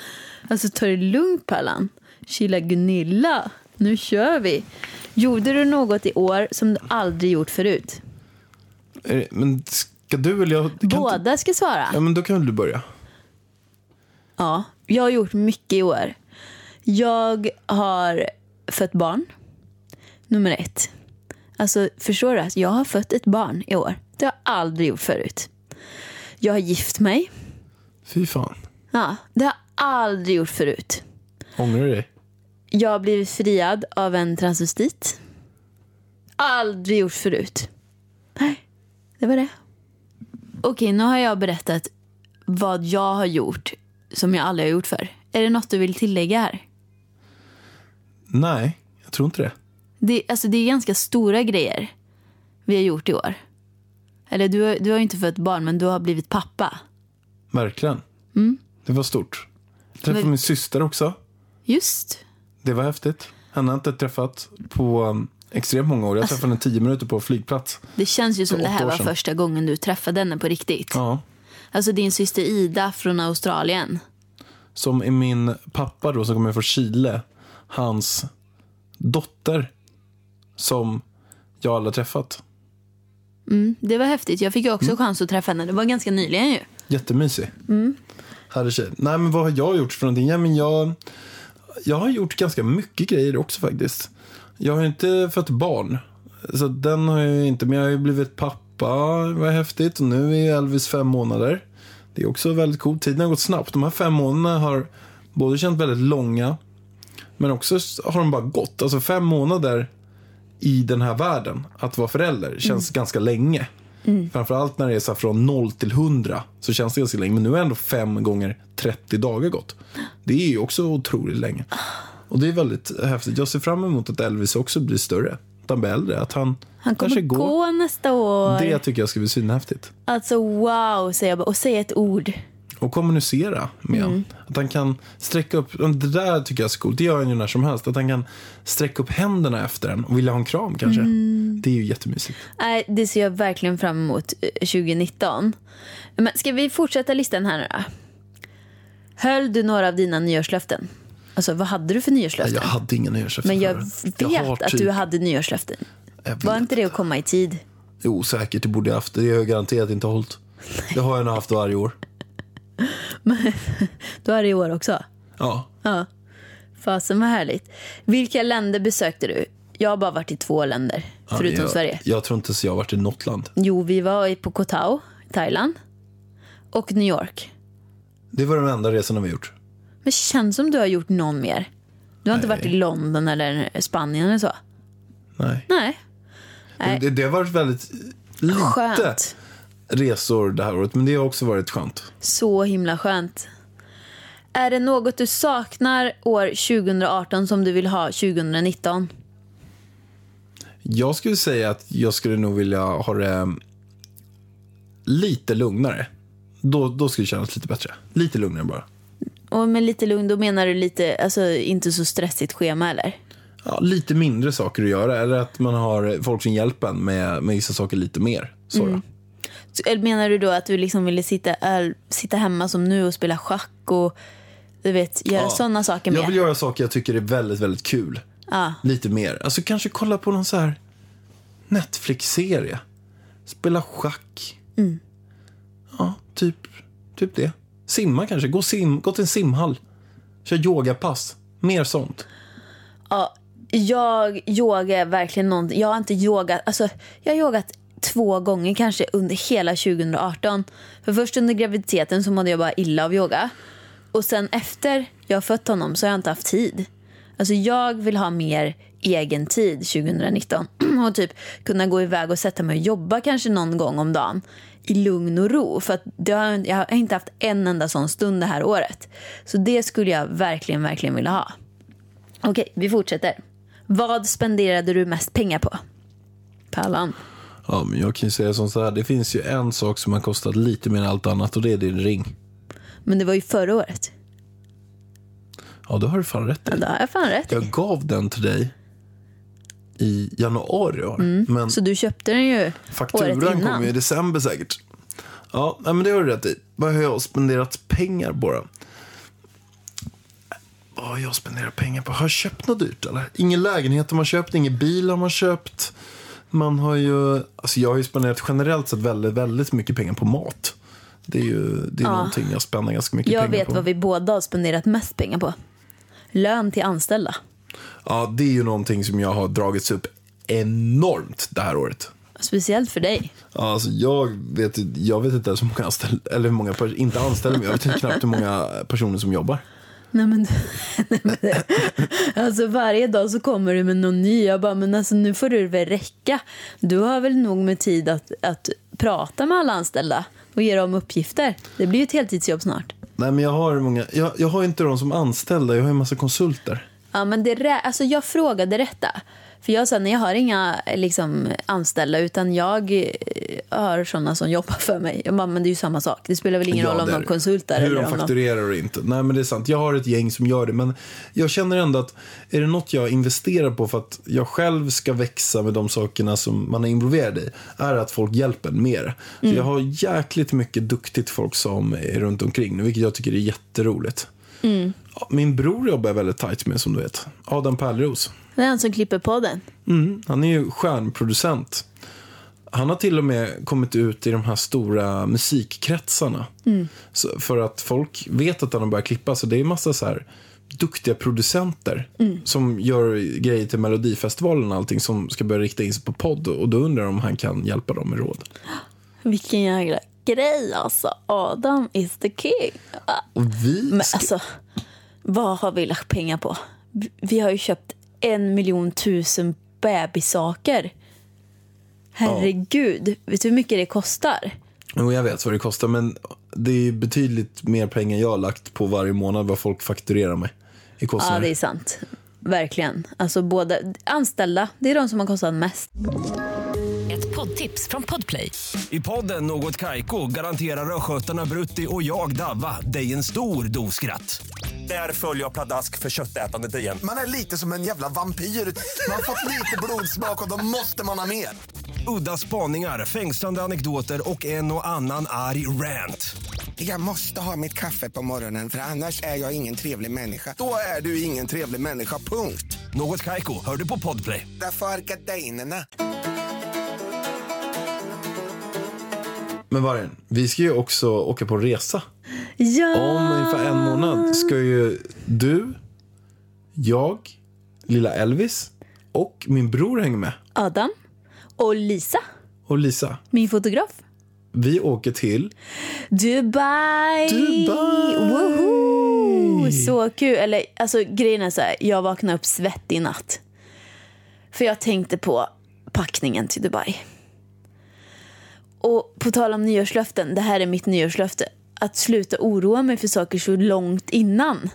[SPEAKER 1] Alltså, ta det lugnt, Pallan. Chilla Gunilla. Nu kör vi. Gjorde du något i år som du aldrig gjort förut?
[SPEAKER 2] Är det- Men ska du eller jag? kan inte-
[SPEAKER 1] Båda ska svara.
[SPEAKER 2] Ja, men då kan väl du börja.
[SPEAKER 1] Ja, jag har gjort mycket i år. Jag har fött barn. Nummer ett. Alltså, förstår du? att Jag har fött ett barn i år. Det har jag aldrig gjort förut. Jag har gift mig.
[SPEAKER 2] Fy fan.
[SPEAKER 1] Ja, det har jag aldrig gjort förut.
[SPEAKER 2] Ångrar du dig?
[SPEAKER 1] Jag har blivit friad av en transvestit. Aldrig gjort förut. Nej, det var det. Okej, nu har jag berättat vad jag har gjort som jag aldrig har gjort för. Är det något du vill tillägga här?
[SPEAKER 2] Nej, jag tror inte det.
[SPEAKER 1] Det, alltså det är ganska stora grejer vi har gjort i år. Eller du, har- du har ju inte fött barn, men du har blivit pappa.
[SPEAKER 2] Verkligen. Det var stort. Jag träffade
[SPEAKER 1] Mm. Men-
[SPEAKER 2] min syster också.
[SPEAKER 1] Just.
[SPEAKER 2] Det var häftigt. Henne har jag inte träffat på um, extremt många år.
[SPEAKER 1] Alltså-
[SPEAKER 2] Jag träffade henne tio minuter på flygplats.
[SPEAKER 1] Det känns ju som
[SPEAKER 2] För
[SPEAKER 1] det här
[SPEAKER 2] åtta år
[SPEAKER 1] var
[SPEAKER 2] sedan.
[SPEAKER 1] första gången du träffade henne på riktigt.
[SPEAKER 2] Ja.
[SPEAKER 1] Alltså din syster Ida från Australien.
[SPEAKER 2] Som är min pappa då, som kommer från Chile. Hans dotter. Som jag aldrig har träffat.
[SPEAKER 1] Det var häftigt. Jag fick ju också
[SPEAKER 2] Mm.
[SPEAKER 1] chans att träffa henne. Det var ganska nyligen ju.
[SPEAKER 2] Jättemysig. Mm. Härlig tjej. Nej, men vad har jag gjort för någonting? Ja, men jag, jag har gjort ganska mycket grejer också faktiskt. Jag har inte fött barn. Så den har jag ju inte, men jag har ju blivit pappa. Vad häftigt. Och nu är Elvis fem månader. Det är också väldigt coolt. Tiden har gått snabbt. De här fem månaderna har både känt väldigt långa, men också har de bara gått. Alltså fem månader i den här världen, att vara förälder,
[SPEAKER 1] Mm.
[SPEAKER 2] känns ganska länge. Framförallt när det är så här från 0 till 100 så känns det ganska länge. Men nu har ändå 5 gånger 30 dagar gått. Det är ju också otroligt länge. Och det är väldigt häftigt. Jag ser fram emot att Elvis också blir större. Att han blir äldre. Att han,
[SPEAKER 1] Han kommer
[SPEAKER 2] kanske
[SPEAKER 1] gå.
[SPEAKER 2] går.
[SPEAKER 1] nästa år.
[SPEAKER 2] Det tycker jag ska bli svinhäftigt.
[SPEAKER 1] Alltså wow, säger jag bara. Och säg ett ord.
[SPEAKER 2] Och kommunicera med
[SPEAKER 1] Mm.
[SPEAKER 2] han. Att han kan sträcka upp, det där tycker jag är så coolt, det gör han ju när som helst. Att han kan sträcka upp händerna efter en och vilja ha en kram kanske.
[SPEAKER 1] Mm.
[SPEAKER 2] Det är ju jättemysigt.
[SPEAKER 1] Nej, det ser jag verkligen fram emot eh, 2019. Men ska vi fortsätta listan här nu då? Höll du några av dina nyårslöften? Alltså vad hade du för
[SPEAKER 2] Nej,
[SPEAKER 1] nyårslöften?
[SPEAKER 2] Jag hade inga nyårslöften
[SPEAKER 1] Men jag
[SPEAKER 2] förut.
[SPEAKER 1] vet
[SPEAKER 2] har
[SPEAKER 1] att
[SPEAKER 2] typ-
[SPEAKER 1] du hade nyårslöften.
[SPEAKER 2] jag vet.
[SPEAKER 1] Var inte det att komma i tid?
[SPEAKER 2] Jo, säkert. Det borde jag haft. Det har jag garanterat inte hållit. Det har jag nog haft varje år.
[SPEAKER 1] Du har det i år också.
[SPEAKER 2] Ja.
[SPEAKER 1] Fasen vad härligt. Vilka länder besökte du? Jag har bara varit i två länder, förutom
[SPEAKER 2] jag,
[SPEAKER 1] Sverige.
[SPEAKER 2] Jag tror inte så jag har varit i något land.
[SPEAKER 1] Jo, vi var i- på Koh Tao, Thailand. Och New York.
[SPEAKER 2] Det var de enda resorna vi gjort.
[SPEAKER 1] Men det känns som du har gjort någon mer. Du har inte varit i London eller Spanien eller så?
[SPEAKER 2] Nej.
[SPEAKER 1] Nej. Nej.
[SPEAKER 2] Men Det, det har varit väldigt lite
[SPEAKER 1] Skönt.
[SPEAKER 2] resor det här året. Men det har också varit skönt.
[SPEAKER 1] Så himla skönt. Är det något du saknar år 2018 som du vill ha 2019?
[SPEAKER 2] Jag skulle säga att jag skulle nog vilja ha det lite lugnare. Då, då skulle det kännas lite bättre. Lite lugnare bara.
[SPEAKER 1] Och med lite lugn, då menar du lite, alltså inte så stressigt schema eller?
[SPEAKER 2] Ja, lite mindre saker att göra. Eller att man har folk som hjälper en med, med vissa saker lite mer. Så då.
[SPEAKER 1] Så- Eller menar du då att du liksom ville sitta, öl- sitta hemma som nu och spela schack och du vet, göra
[SPEAKER 2] Ja.
[SPEAKER 1] sådana saker
[SPEAKER 2] Jag vill
[SPEAKER 1] med?
[SPEAKER 2] göra saker jag tycker är väldigt, väldigt kul.
[SPEAKER 1] Ja.
[SPEAKER 2] Lite mer. Alltså kanske kolla på någon så här Netflix-serie. Spela schack. Ja, typ, typ det. Simma kanske. Gå, sim, gå till en simhall. Kör yogapass. Mer sånt.
[SPEAKER 1] Ja, jag yogar verkligen någonting. Jag har inte yogat, alltså jag har yogat två gånger kanske under hela 2018. För först under graviditeten så mådde jag bara illa av yoga. Och sen efter jag fött honom så har jag inte haft tid. Alltså jag vill ha mer egen tid 2019 och typ kunna gå iväg och sätta mig och jobba kanske någon gång om dagen i lugn och ro. För att det har, jag har inte haft en enda sån stund det här året. Så det skulle jag verkligen, verkligen vilja ha. Okej, vi fortsätter. Vad spenderade du mest pengar på? Pallan.
[SPEAKER 2] Ja, men jag kan ju säga som så här. Det finns ju en sak som har kostat lite mer än allt annat och det är din ring.
[SPEAKER 1] Men det var ju förra året.
[SPEAKER 2] Ja, det har du fan rätt i.
[SPEAKER 1] Men det har jag fan rätt i.
[SPEAKER 2] Jag gav den till dig i januari i år. Men
[SPEAKER 1] Så du köpte den ju året
[SPEAKER 2] fakturan
[SPEAKER 1] innan.
[SPEAKER 2] kommer ju i december säkert. Ja, nej, men det har du rätt i. Vad har jag spenderat pengar på då? Vad har jag spenderat pengar på? Har jag köpt något dyrt eller? Ingen lägenhet har man köpt, ingen bil har man köpt. Man har ju, alltså jag har ju spenderat generellt sett väldigt, väldigt mycket pengar på mat. Det är ju det är någonting jag spänner ganska mycket
[SPEAKER 1] Jag
[SPEAKER 2] pengar
[SPEAKER 1] vet
[SPEAKER 2] på.
[SPEAKER 1] vad vi båda har spenderat mest pengar på. Lön till anställda.
[SPEAKER 2] Ja, det är ju någonting som jag har dragits upp enormt det här året.
[SPEAKER 1] Speciellt för dig.
[SPEAKER 2] Ja, Alltså, jag, vet, jag vet inte ens hur många anställda, eller hur många, pers- inte anställda, men jag vet knappt hur många personer som jobbar.
[SPEAKER 1] Nej men, nej, men alltså varje dag så kommer du med någon ny. Jag bara, men alltså nu får du väl räcka. Du har väl nog med tid att, att prata med alla anställda och ge dem uppgifter. Det blir ju ett heltidsjobb snart.
[SPEAKER 2] Nej, men jag har många, jag, jag har inte dem som anställda, jag har en massa konsulter.
[SPEAKER 1] Ja, men det, rä- alltså jag frågade detta. För jag sa, nej jag har inga eh, liksom, anställda utan jag eh, har sådana som jobbar för mig. Jag bara, men det är ju samma sak. Det spelar väl ingen roll
[SPEAKER 2] Ja,
[SPEAKER 1] om
[SPEAKER 2] det är
[SPEAKER 1] de
[SPEAKER 2] det.
[SPEAKER 1] konsultar
[SPEAKER 2] Hur
[SPEAKER 1] eller
[SPEAKER 2] de
[SPEAKER 1] om de...
[SPEAKER 2] fakturerar och inte. Nej, men det är sant. Jag har ett gäng som gör det, men jag känner ändå att är det något jag investerar på för att jag själv ska växa med de sakerna som man är involverad i, är att folk hjälper en mer. Så
[SPEAKER 1] Mm.
[SPEAKER 2] jag har jäkligt mycket duktigt folk som är runt omkring nu, vilket jag tycker är jätteroligt.
[SPEAKER 1] Mm.
[SPEAKER 2] Ja, Min bror jobbar jag väldigt tajt med, som du vet. Adam Pärleros.
[SPEAKER 1] Det är han som klipper podden.
[SPEAKER 2] Mm, han är ju stjärnproducent. Han har till och med kommit ut i de här stora musikkretsarna.
[SPEAKER 1] Mm.
[SPEAKER 2] Så, för att folk vet att han har börjat klippa. Så det är massa så här duktiga producenter
[SPEAKER 1] Mm.
[SPEAKER 2] som gör grejer till Melodifestivalen och allting som ska börja rikta in sig på podd. Och då undrar de om han kan hjälpa dem med råd.
[SPEAKER 1] Vilken jävla grej alltså. Adam is the king. Ah.
[SPEAKER 2] Och vi
[SPEAKER 1] Men
[SPEAKER 2] ska-
[SPEAKER 1] alltså, vad har vi lagt pengar på? Vi- Vi har ju köpt en miljon tusen bebissaker. Herregud, vet du hur mycket det kostar?
[SPEAKER 2] Jo, jag vet vad det kostar, men det är betydligt mer pengar jag har lagt på varje månad vad folk fakturerar mig i kostnader.
[SPEAKER 1] Ja, det är sant. Verkligen. Alltså båda, anställda, det är de som har kostat mest.
[SPEAKER 3] Ett poddtips från Podplay.
[SPEAKER 4] I podden Något Kaiko garanterar östgötarna Brutti och jag, Davva, dig en stor dos skratt. Där följer jag pladask för köttätandet igen.
[SPEAKER 5] Man är lite som en jävla vampyr. Man har fått lite blodsmak och då måste man ha mer.
[SPEAKER 4] Udda spaningar, fängslande anekdoter och en och annan arg rant.
[SPEAKER 5] Jag måste ha mitt kaffe på morgonen för annars är jag ingen trevlig människa. Då är du ingen trevlig människa, punkt.
[SPEAKER 4] Något Kaiko, hör du på Podplay.
[SPEAKER 5] Därför arkadeinerna.
[SPEAKER 2] Men Vargen, vi ska ju också åka på en resa.
[SPEAKER 1] Ja!
[SPEAKER 2] Om ungefär en månad ska ju du, jag, lilla Elvis och min bror hänga med.
[SPEAKER 1] Adam och Lisa,
[SPEAKER 2] Och Lisa,
[SPEAKER 1] min fotograf.
[SPEAKER 2] vi åker till...
[SPEAKER 1] Dubai!
[SPEAKER 2] Dubai!
[SPEAKER 1] Woho! Så kul. Eller, alltså, grejen är så här, jag vaknade upp svettig i natt. För jag tänkte på packningen till Dubai. Och på tal om nyårslöften, det här är mitt nyårslöfte. Att sluta oroa mig för saker så långt innan.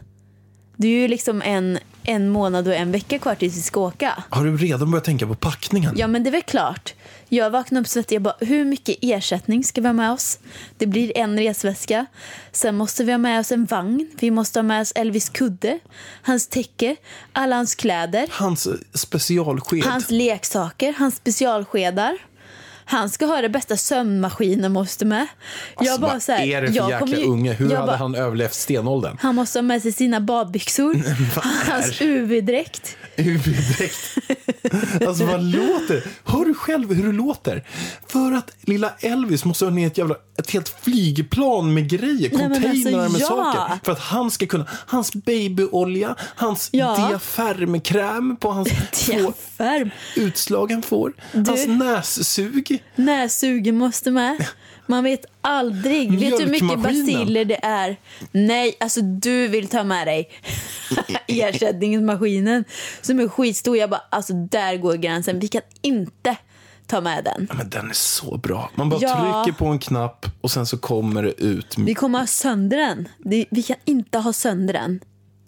[SPEAKER 1] Det är ju liksom en, en månad och en vecka kvar tills vi ska åka.
[SPEAKER 2] Har du redan börjat tänka på packningen?
[SPEAKER 1] Ja, men det är väl klart. Jag vaknade upp svettig. Jag bara, hur mycket ersättning ska vi ha med oss? Det blir en resväska. Sen måste vi ha med oss en vagn. Vi måste ha med oss Elvis kudde, hans täcke, alla hans kläder,
[SPEAKER 2] Hans specialsked.
[SPEAKER 1] hans leksaker, hans specialskedar. Han ska ha det bästa sömnmaskinen måste med. jag bara
[SPEAKER 2] Alltså, vad
[SPEAKER 1] så här,
[SPEAKER 2] är det för
[SPEAKER 1] jag
[SPEAKER 2] jäkla
[SPEAKER 1] kommer ju-
[SPEAKER 2] unge? Hur
[SPEAKER 1] jag
[SPEAKER 2] hade
[SPEAKER 1] bara,
[SPEAKER 2] han överlevt stenåldern?
[SPEAKER 1] Han måste ha med sig sina badbyxor, hans UV-dräkt.
[SPEAKER 2] Huvuddräkt. Alltså vad låter? Hör du själv hur det låter? För att lilla Elvis måste ha ner ett, jävla, ett helt flygplan med grejer,
[SPEAKER 1] Nej, men alltså,
[SPEAKER 2] containrar med
[SPEAKER 1] ja.
[SPEAKER 2] saker. För att han ska kunna, hans babyolja, hans
[SPEAKER 1] Ja.
[SPEAKER 2] diafermkräm på hans två
[SPEAKER 1] Diafärm.
[SPEAKER 2] utslag han får, hans nässug.
[SPEAKER 1] Näsugen måste med. Man vet aldrig. Vet du hur mycket
[SPEAKER 2] Mjölkmaskinen.
[SPEAKER 1] basiller det är? Nej, alltså du vill ta med dig ersättningsmaskinen som är skitstor. Jag bara, alltså där går gränsen. Vi kan inte ta med den.
[SPEAKER 2] Men den är så bra. Man bara
[SPEAKER 1] Ja.
[SPEAKER 2] trycker på en knapp och sen så kommer det ut.
[SPEAKER 1] Vi kommer ha sönder den. Det- Vi kan inte ha sönder den.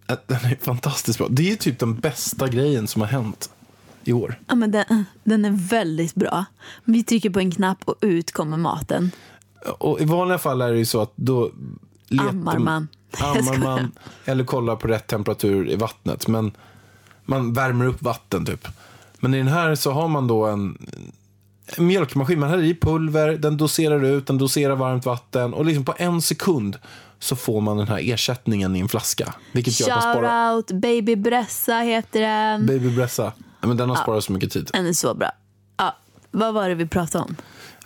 [SPEAKER 2] Äh, Den är fantastiskt bra. Det är typ den bästa grejen som har hänt i år.
[SPEAKER 1] Ja, men den, den är väldigt bra. Vi trycker på en knapp och ut kommer maten.
[SPEAKER 2] Och I vanliga fall är det ju så att då letar
[SPEAKER 1] Ammar man. Jag
[SPEAKER 2] ammar
[SPEAKER 1] skojar.
[SPEAKER 2] man eller kollar på rätt temperatur i vattnet. Men man värmer upp vatten typ. Men i den här så har man då en, en mjölkmaskin. Man häller i pulver, den doserar ut, den doserar varmt vatten. Och liksom på en sekund så får man den här ersättningen i en flaska. Vilket gör att man sparar
[SPEAKER 1] Shoutout, Baby Bressa heter den.
[SPEAKER 2] Baby Bressa. Ja, Men den har sparat så mycket tid.
[SPEAKER 1] Den är så bra. Ja, vad var det vi pratade om?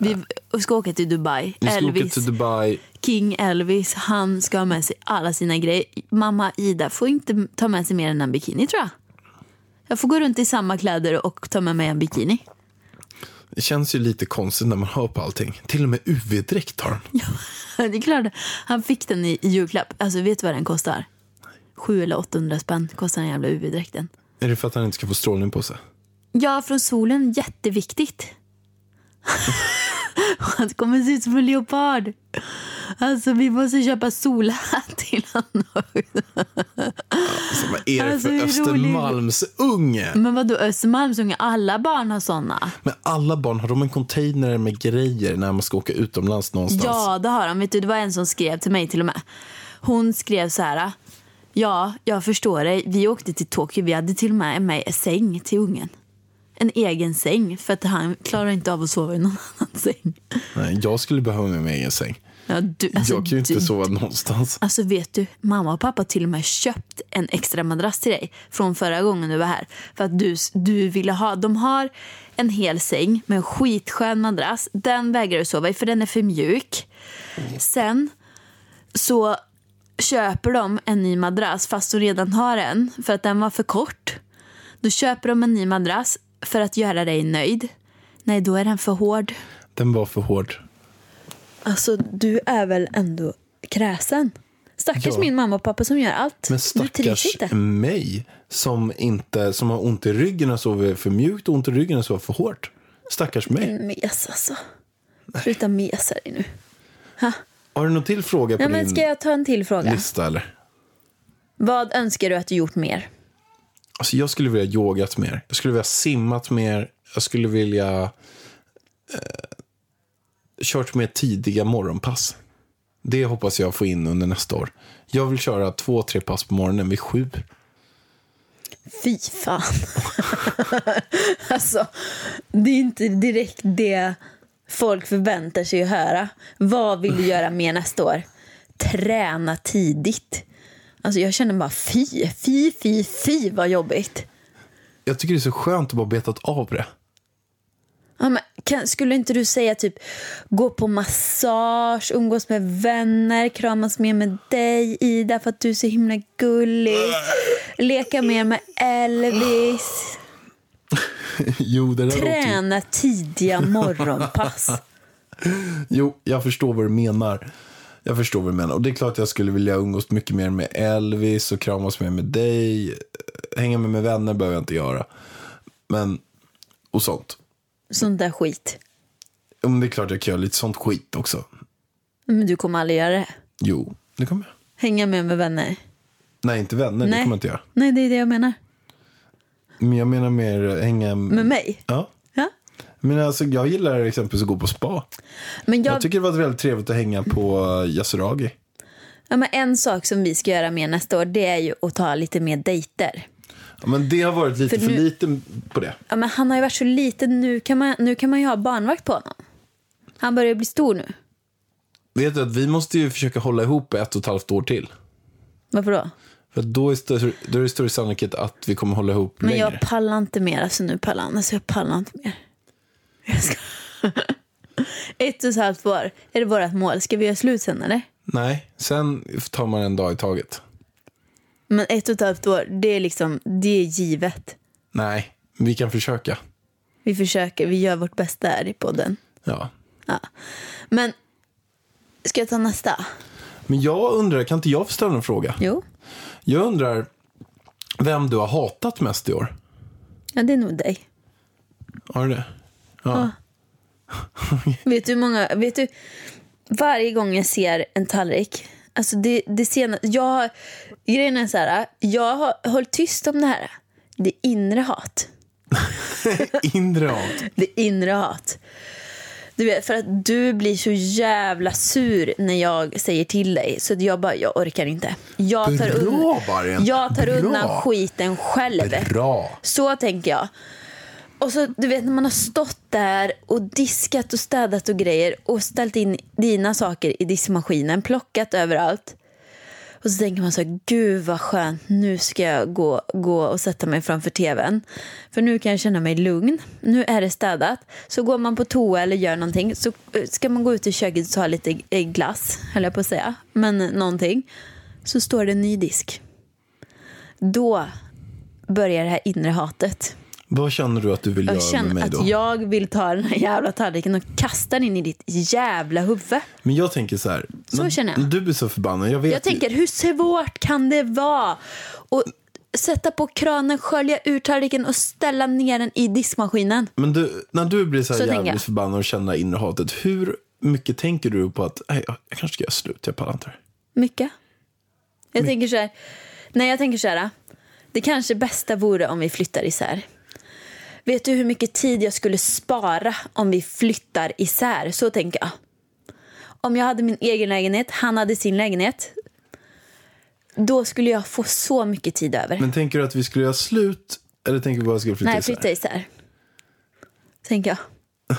[SPEAKER 1] Vi ska åka till Dubai.
[SPEAKER 2] Vi ska åka
[SPEAKER 1] Elvis,
[SPEAKER 2] till Dubai.
[SPEAKER 1] King Elvis, han ska ha med sig alla sina grejer. Mamma Ida får inte ta med sig mer än en bikini tror jag. Jag får gå runt i samma kläder och ta med mig en bikini.
[SPEAKER 2] Det känns ju lite konstigt när man hör på allting. Till och med UV-dräkt har de.
[SPEAKER 1] Det är klart, han fick den i i julklapp. Alltså vet du vad den kostar? 700 eller 800 spänn kostar den jävla UV-dräkten.
[SPEAKER 2] Är det för att han inte ska få strålning på sig?
[SPEAKER 1] Ja, från solen, jätteviktigt. Han kommer se ut som en leopard. Alltså vi måste köpa solhatt till honom.
[SPEAKER 2] Vad är det
[SPEAKER 1] Alltså,
[SPEAKER 2] för
[SPEAKER 1] hur rolig-
[SPEAKER 2] Östermalmsunge?
[SPEAKER 1] Men vadå Östermalmsunge, alla barn har såna.
[SPEAKER 2] Men alla barn, har de en container med grejer när man ska åka utomlands någonstans?
[SPEAKER 1] Ja, det har de. Vet du, det var en som skrev till mig till och med. Hon skrev så här. Ja, jag förstår dig. Vi åkte till Tokyo. Vi hade till och med med en säng till ungen. En egen säng, för att han klarar inte av att sova i någon annan säng.
[SPEAKER 2] Nej, jag skulle behöva min egen säng.
[SPEAKER 1] Ja, du, alltså,
[SPEAKER 2] jag kan ju inte
[SPEAKER 1] du,
[SPEAKER 2] sova någonstans.
[SPEAKER 1] Alltså vet du, mamma och pappa har till och med köpt en extra madrass till dig från förra gången du var här. För att du, du ville ha, de har en hel säng med en skitskön madrass. Den vägrar du sova i för den är för mjuk. Sen så köper de en ny madrass fast du redan har en för att den var för kort. Då köper de en ny madrass för att göra dig nöjd. Nej, då är den för hård.
[SPEAKER 2] Den var för hård.
[SPEAKER 1] Alltså du är väl ändå kräsen? Stackars
[SPEAKER 2] Ja.
[SPEAKER 1] min mamma och pappa som gör allt.
[SPEAKER 2] Men
[SPEAKER 1] du trivs
[SPEAKER 2] stackars
[SPEAKER 1] inte.
[SPEAKER 2] mig som, inte, som har ont i ryggen och sover för mjukt och ont i ryggen och sover för hårt. Stackars mig.
[SPEAKER 1] Mes alltså. Sluta mesa dig nu.
[SPEAKER 2] Har du någon till fråga på
[SPEAKER 1] Nej, men
[SPEAKER 2] din
[SPEAKER 1] ska jag ta en till fråga?
[SPEAKER 2] lista? Eller?
[SPEAKER 1] Vad önskar du att du gjort mer?
[SPEAKER 2] Alltså, jag skulle vilja yogat mer. Jag skulle vilja simmat mer. Jag skulle vilja eh, kört mer tidiga morgonpass. Det hoppas jag få in under nästa år. Jag vill köra två, tre pass på morgonen vid sju.
[SPEAKER 1] Fy fan. alltså, det är inte direkt det folk förväntar sig att höra. Vad vill du göra mer nästa år? Träna tidigt. Alltså jag känner bara fy, fy, fy, fy vad jobbigt.
[SPEAKER 2] Jag tycker det är så skönt att bara betat av det.
[SPEAKER 1] Ja, men kan, skulle inte du säga typ gå på massage, umgås med vänner, kramas mer med dig Ida för att du är så himla gullig. Leka mer med Elvis.
[SPEAKER 2] Jo, det där låter ju-
[SPEAKER 1] Träna tidiga morgonpass.
[SPEAKER 2] jo, jag förstår vad du menar. Jag förstår vad du menar. Och det är klart att jag skulle vilja umgås mycket mer med Elvis och kramas mer med dig. Hänga med med vänner behöver jag inte göra. Men, och sånt.
[SPEAKER 1] Sånt där skit.
[SPEAKER 2] Ja, men det är klart jag kan göra lite sånt skit också.
[SPEAKER 1] Men du kommer aldrig göra det.
[SPEAKER 2] Jo, det kommer jag.
[SPEAKER 1] Hänga med med vänner.
[SPEAKER 2] Nej, inte vänner. Det
[SPEAKER 1] Nej.
[SPEAKER 2] kommer jag inte göra.
[SPEAKER 1] Nej, det är det jag menar.
[SPEAKER 2] Men jag menar mer eh, hänga...
[SPEAKER 1] Med mig.
[SPEAKER 2] Ja.
[SPEAKER 1] Ja.
[SPEAKER 2] Men alltså, jag gillar exempelvis att gå på spa.
[SPEAKER 1] Men
[SPEAKER 2] Jag,
[SPEAKER 1] jag,
[SPEAKER 2] tycker det var väldigt trevligt att hänga på eh, Yasuragi.
[SPEAKER 1] ja, men en sak som vi ska göra mer nästa år det är ju att ta lite mer dejter.
[SPEAKER 2] Ja, men det har varit lite
[SPEAKER 1] För
[SPEAKER 2] för,
[SPEAKER 1] nu-
[SPEAKER 2] lite på det.
[SPEAKER 1] Ja, men han har ju varit så liten. Nu kan man, nu kan man ju ha barnvakt på honom. Han börjar ju bli stor nu.
[SPEAKER 2] Vet du att vi måste ju försöka hålla ihop ett och ett halvt år till.
[SPEAKER 1] Varför då?
[SPEAKER 2] För att då är, större, då är det större sannolikhet att vi kommer hålla ihop
[SPEAKER 1] Men
[SPEAKER 2] längre.
[SPEAKER 1] jag pallar inte mer. Alltså nu pallar han. Alltså jag pallar inte mer. Jag ska... Ett och ett halvt år är det vårt mål. Ska vi göra slut sen eller?
[SPEAKER 2] Nej, sen tar man en dag i taget.
[SPEAKER 1] Men ett och ett halvt år, det är liksom, det är givet.
[SPEAKER 2] Nej, vi kan försöka.
[SPEAKER 1] Vi försöker, vi gör vårt bästa här i podden.
[SPEAKER 2] Ja.
[SPEAKER 1] Men, ska jag ta nästa?
[SPEAKER 2] Men jag undrar, kan inte jag få ställa en fråga?
[SPEAKER 1] Jo.
[SPEAKER 2] Jag undrar vem du har hatat mest i år?
[SPEAKER 1] Ja, det är nog dig.
[SPEAKER 2] Har du det?
[SPEAKER 1] Vet du hur många, vet du, varje gång jag ser en tallrik, alltså det, det senaste, jag har, grejen är så här, jag har hållit tyst om det här. Det inre hat.
[SPEAKER 2] Inre hat.
[SPEAKER 1] Det inre hat. Du vet, för att du blir så jävla sur när jag säger till dig. Så att jag bara, jag orkar inte. Jag tar,
[SPEAKER 2] Bra,
[SPEAKER 1] un-
[SPEAKER 2] Bargen.
[SPEAKER 1] jag tar
[SPEAKER 2] Bra.
[SPEAKER 1] undan skiten själv.
[SPEAKER 2] Bra.
[SPEAKER 1] Så tänker jag. Och så du vet när man har stått där och diskat och städat och grejer och ställt in dina saker i diskmaskinen, plockat överallt. Och så tänker man så här, gud vad skönt, nu ska jag gå, gå och sätta mig framför tvn. För nu kan jag känna mig lugn, nu är det städat. Så går man på toa eller gör någonting, så eh, ska man gå ut i köket och ta lite eh, glass, höll jag på att säga, men eh, någonting. Så står det en ny disk. Då börjar det här inre hatet.
[SPEAKER 2] Vad känner du att du vill
[SPEAKER 1] Jag
[SPEAKER 2] göra med
[SPEAKER 1] känner
[SPEAKER 2] mig
[SPEAKER 1] att
[SPEAKER 2] då?
[SPEAKER 1] jag vill ta den här jävla tallriken och kasta den in i ditt jävla huvud.
[SPEAKER 2] Men jag tänker så här.
[SPEAKER 1] Så
[SPEAKER 2] när-
[SPEAKER 1] känner jag.
[SPEAKER 2] när Du blir så förbannad. Jag vet
[SPEAKER 1] Jag tänker, hur svårt kan det vara? Och sätta på kranen, skölja ur tallriken och ställa ner den i diskmaskinen.
[SPEAKER 2] Men du, när du blir så här
[SPEAKER 1] Så tänker jag.
[SPEAKER 2] jävligt förbannad och känner det här inre hatet. Hur mycket tänker du på att "Nej, jag, jag kanske ska göra slut, jag pallar inte det här."
[SPEAKER 1] Mycket. Jag tänker så här. Nej, jag tänker så här. Det kanske bästa vore om vi flyttar isär. Vet du hur mycket tid jag skulle spara om vi flyttar isär? Så tänker jag. Om jag hade min egen lägenhet, han hade sin lägenhet. Då skulle jag få så mycket tid över.
[SPEAKER 2] Men tänker du att vi skulle göra slut eller tänker du bara att vi skulle flytta
[SPEAKER 1] Nej,
[SPEAKER 2] isär?
[SPEAKER 1] flytta isär. Tänker jag.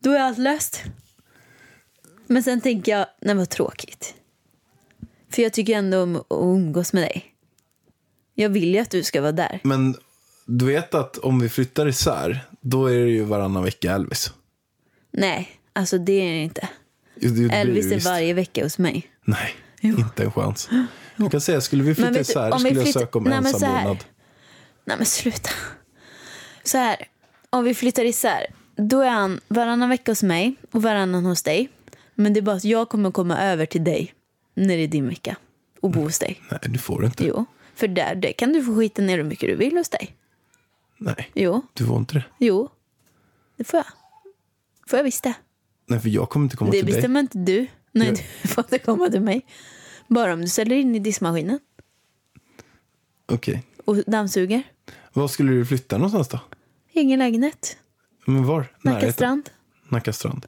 [SPEAKER 1] Då är allt löst. Men sen tänker jag, nej vad tråkigt. För jag tycker ändå om att umgås med dig. Jag vill ju att du ska vara där.
[SPEAKER 2] Men du vet att om vi flyttar isär, då är det ju varannan vecka Elvis.
[SPEAKER 1] Nej, alltså det är det inte.
[SPEAKER 2] Jo, det blir det
[SPEAKER 1] Elvis är
[SPEAKER 2] visst.
[SPEAKER 1] varje vecka hos mig.
[SPEAKER 2] Nej, inte en chans. Jag kan säga, skulle vi
[SPEAKER 1] Men
[SPEAKER 2] flytta
[SPEAKER 1] vet du,
[SPEAKER 2] isär
[SPEAKER 1] om vi
[SPEAKER 2] skulle jag
[SPEAKER 1] flytt-
[SPEAKER 2] söka om
[SPEAKER 1] Nej, men så här.
[SPEAKER 2] ensamvårdnad.
[SPEAKER 1] Nej men sluta. Så här, om vi flyttar isär. Då är han varannan vecka hos mig och varannan hos dig. Men det är bara att jag kommer komma över till dig när det är din vecka och bo hos dig.
[SPEAKER 2] Nej, du får inte.
[SPEAKER 1] Jo, för där, där kan du få skita ner hur mycket du vill hos dig.
[SPEAKER 2] Nej,
[SPEAKER 1] Jo,
[SPEAKER 2] du får inte det.
[SPEAKER 1] jo. Det får jag. får jag visst det.
[SPEAKER 2] Nej, för jag kommer inte komma
[SPEAKER 1] Det
[SPEAKER 2] till dig.
[SPEAKER 1] bestämmer inte du. Nej,
[SPEAKER 2] Jo.
[SPEAKER 1] du får inte komma till mig. Bara om du ställer in i diskmaskinen
[SPEAKER 2] Okej.
[SPEAKER 1] och dammsuger.
[SPEAKER 2] Var skulle du flytta någonstans då?
[SPEAKER 1] Egen lägenhet.
[SPEAKER 2] Men var?
[SPEAKER 1] Nacka
[SPEAKER 2] Närheten?
[SPEAKER 1] strand.
[SPEAKER 2] Nacka strand.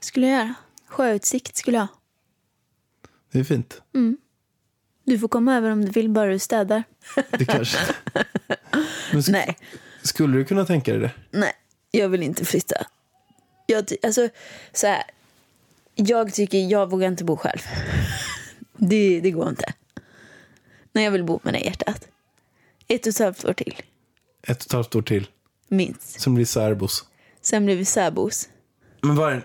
[SPEAKER 1] Skulle jag göra. Sjöutsikt skulle jag ha.
[SPEAKER 2] Det är fint.
[SPEAKER 1] Du får komma över om du vill, bara du städar.
[SPEAKER 2] Det kanske... Men sk-
[SPEAKER 1] Nej,
[SPEAKER 2] Skulle du kunna tänka dig det?
[SPEAKER 1] nej. Jag vill inte flytta. Jag, ty- alltså, så här. Jag tycker, jag vågar inte bo själv. Det, det går inte. Nej, jag vill bo med dig i hjärtat. Ett och ett halvt år till,
[SPEAKER 2] Ett och ett halvt år till.
[SPEAKER 1] minst.
[SPEAKER 2] Som blir särbos.
[SPEAKER 1] Sen blir vi särbos.
[SPEAKER 2] Men var Är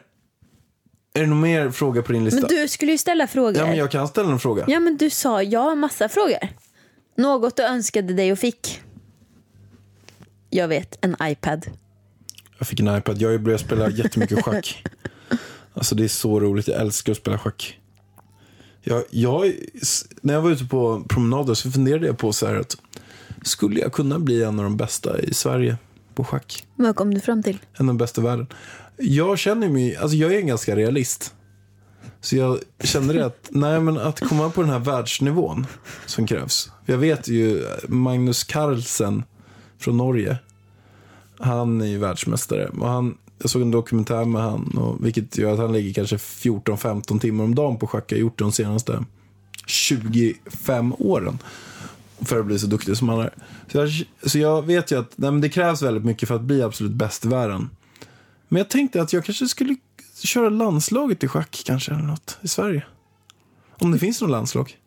[SPEAKER 2] det någon mer fråga på din lista?
[SPEAKER 1] Men du skulle ju ställa frågor.
[SPEAKER 2] Ja, men jag kan ställa en fråga.
[SPEAKER 1] ja, men du sa, jag har massa frågor. Något du önskade dig och fick. Jag vet, en iPad.
[SPEAKER 2] Jag fick en iPad. Jag har ju börjat spela jättemycket schack. Alltså det är så roligt. Jag älskar att spela schack. Jag, jag, när jag var ute på promenader så funderade jag på så här att skulle jag kunna bli en av de bästa i Sverige på schack?
[SPEAKER 1] Vad kom du fram till?
[SPEAKER 2] En av de bästa i världen. Jag känner mig, alltså jag är en ganska realist. Så jag kände det att, nej men att komma upp på den här världsnivån som krävs. För Jag vet ju Magnus Carlsen från Norge. Han är ju världsmästare. Och han, jag såg en dokumentär med han, och, vilket gör att han ligger kanske 14-15 timmar om dagen på schack. Jag har gjort det de senaste 25 åren. för att bli så duktig som han är. Så jag, så jag vet ju att nej, men det krävs väldigt mycket för att bli absolut bäst i världen. Men jag tänkte att jag kanske skulle köra landslaget i schack kanske eller något i Sverige. Om det finns något landslag.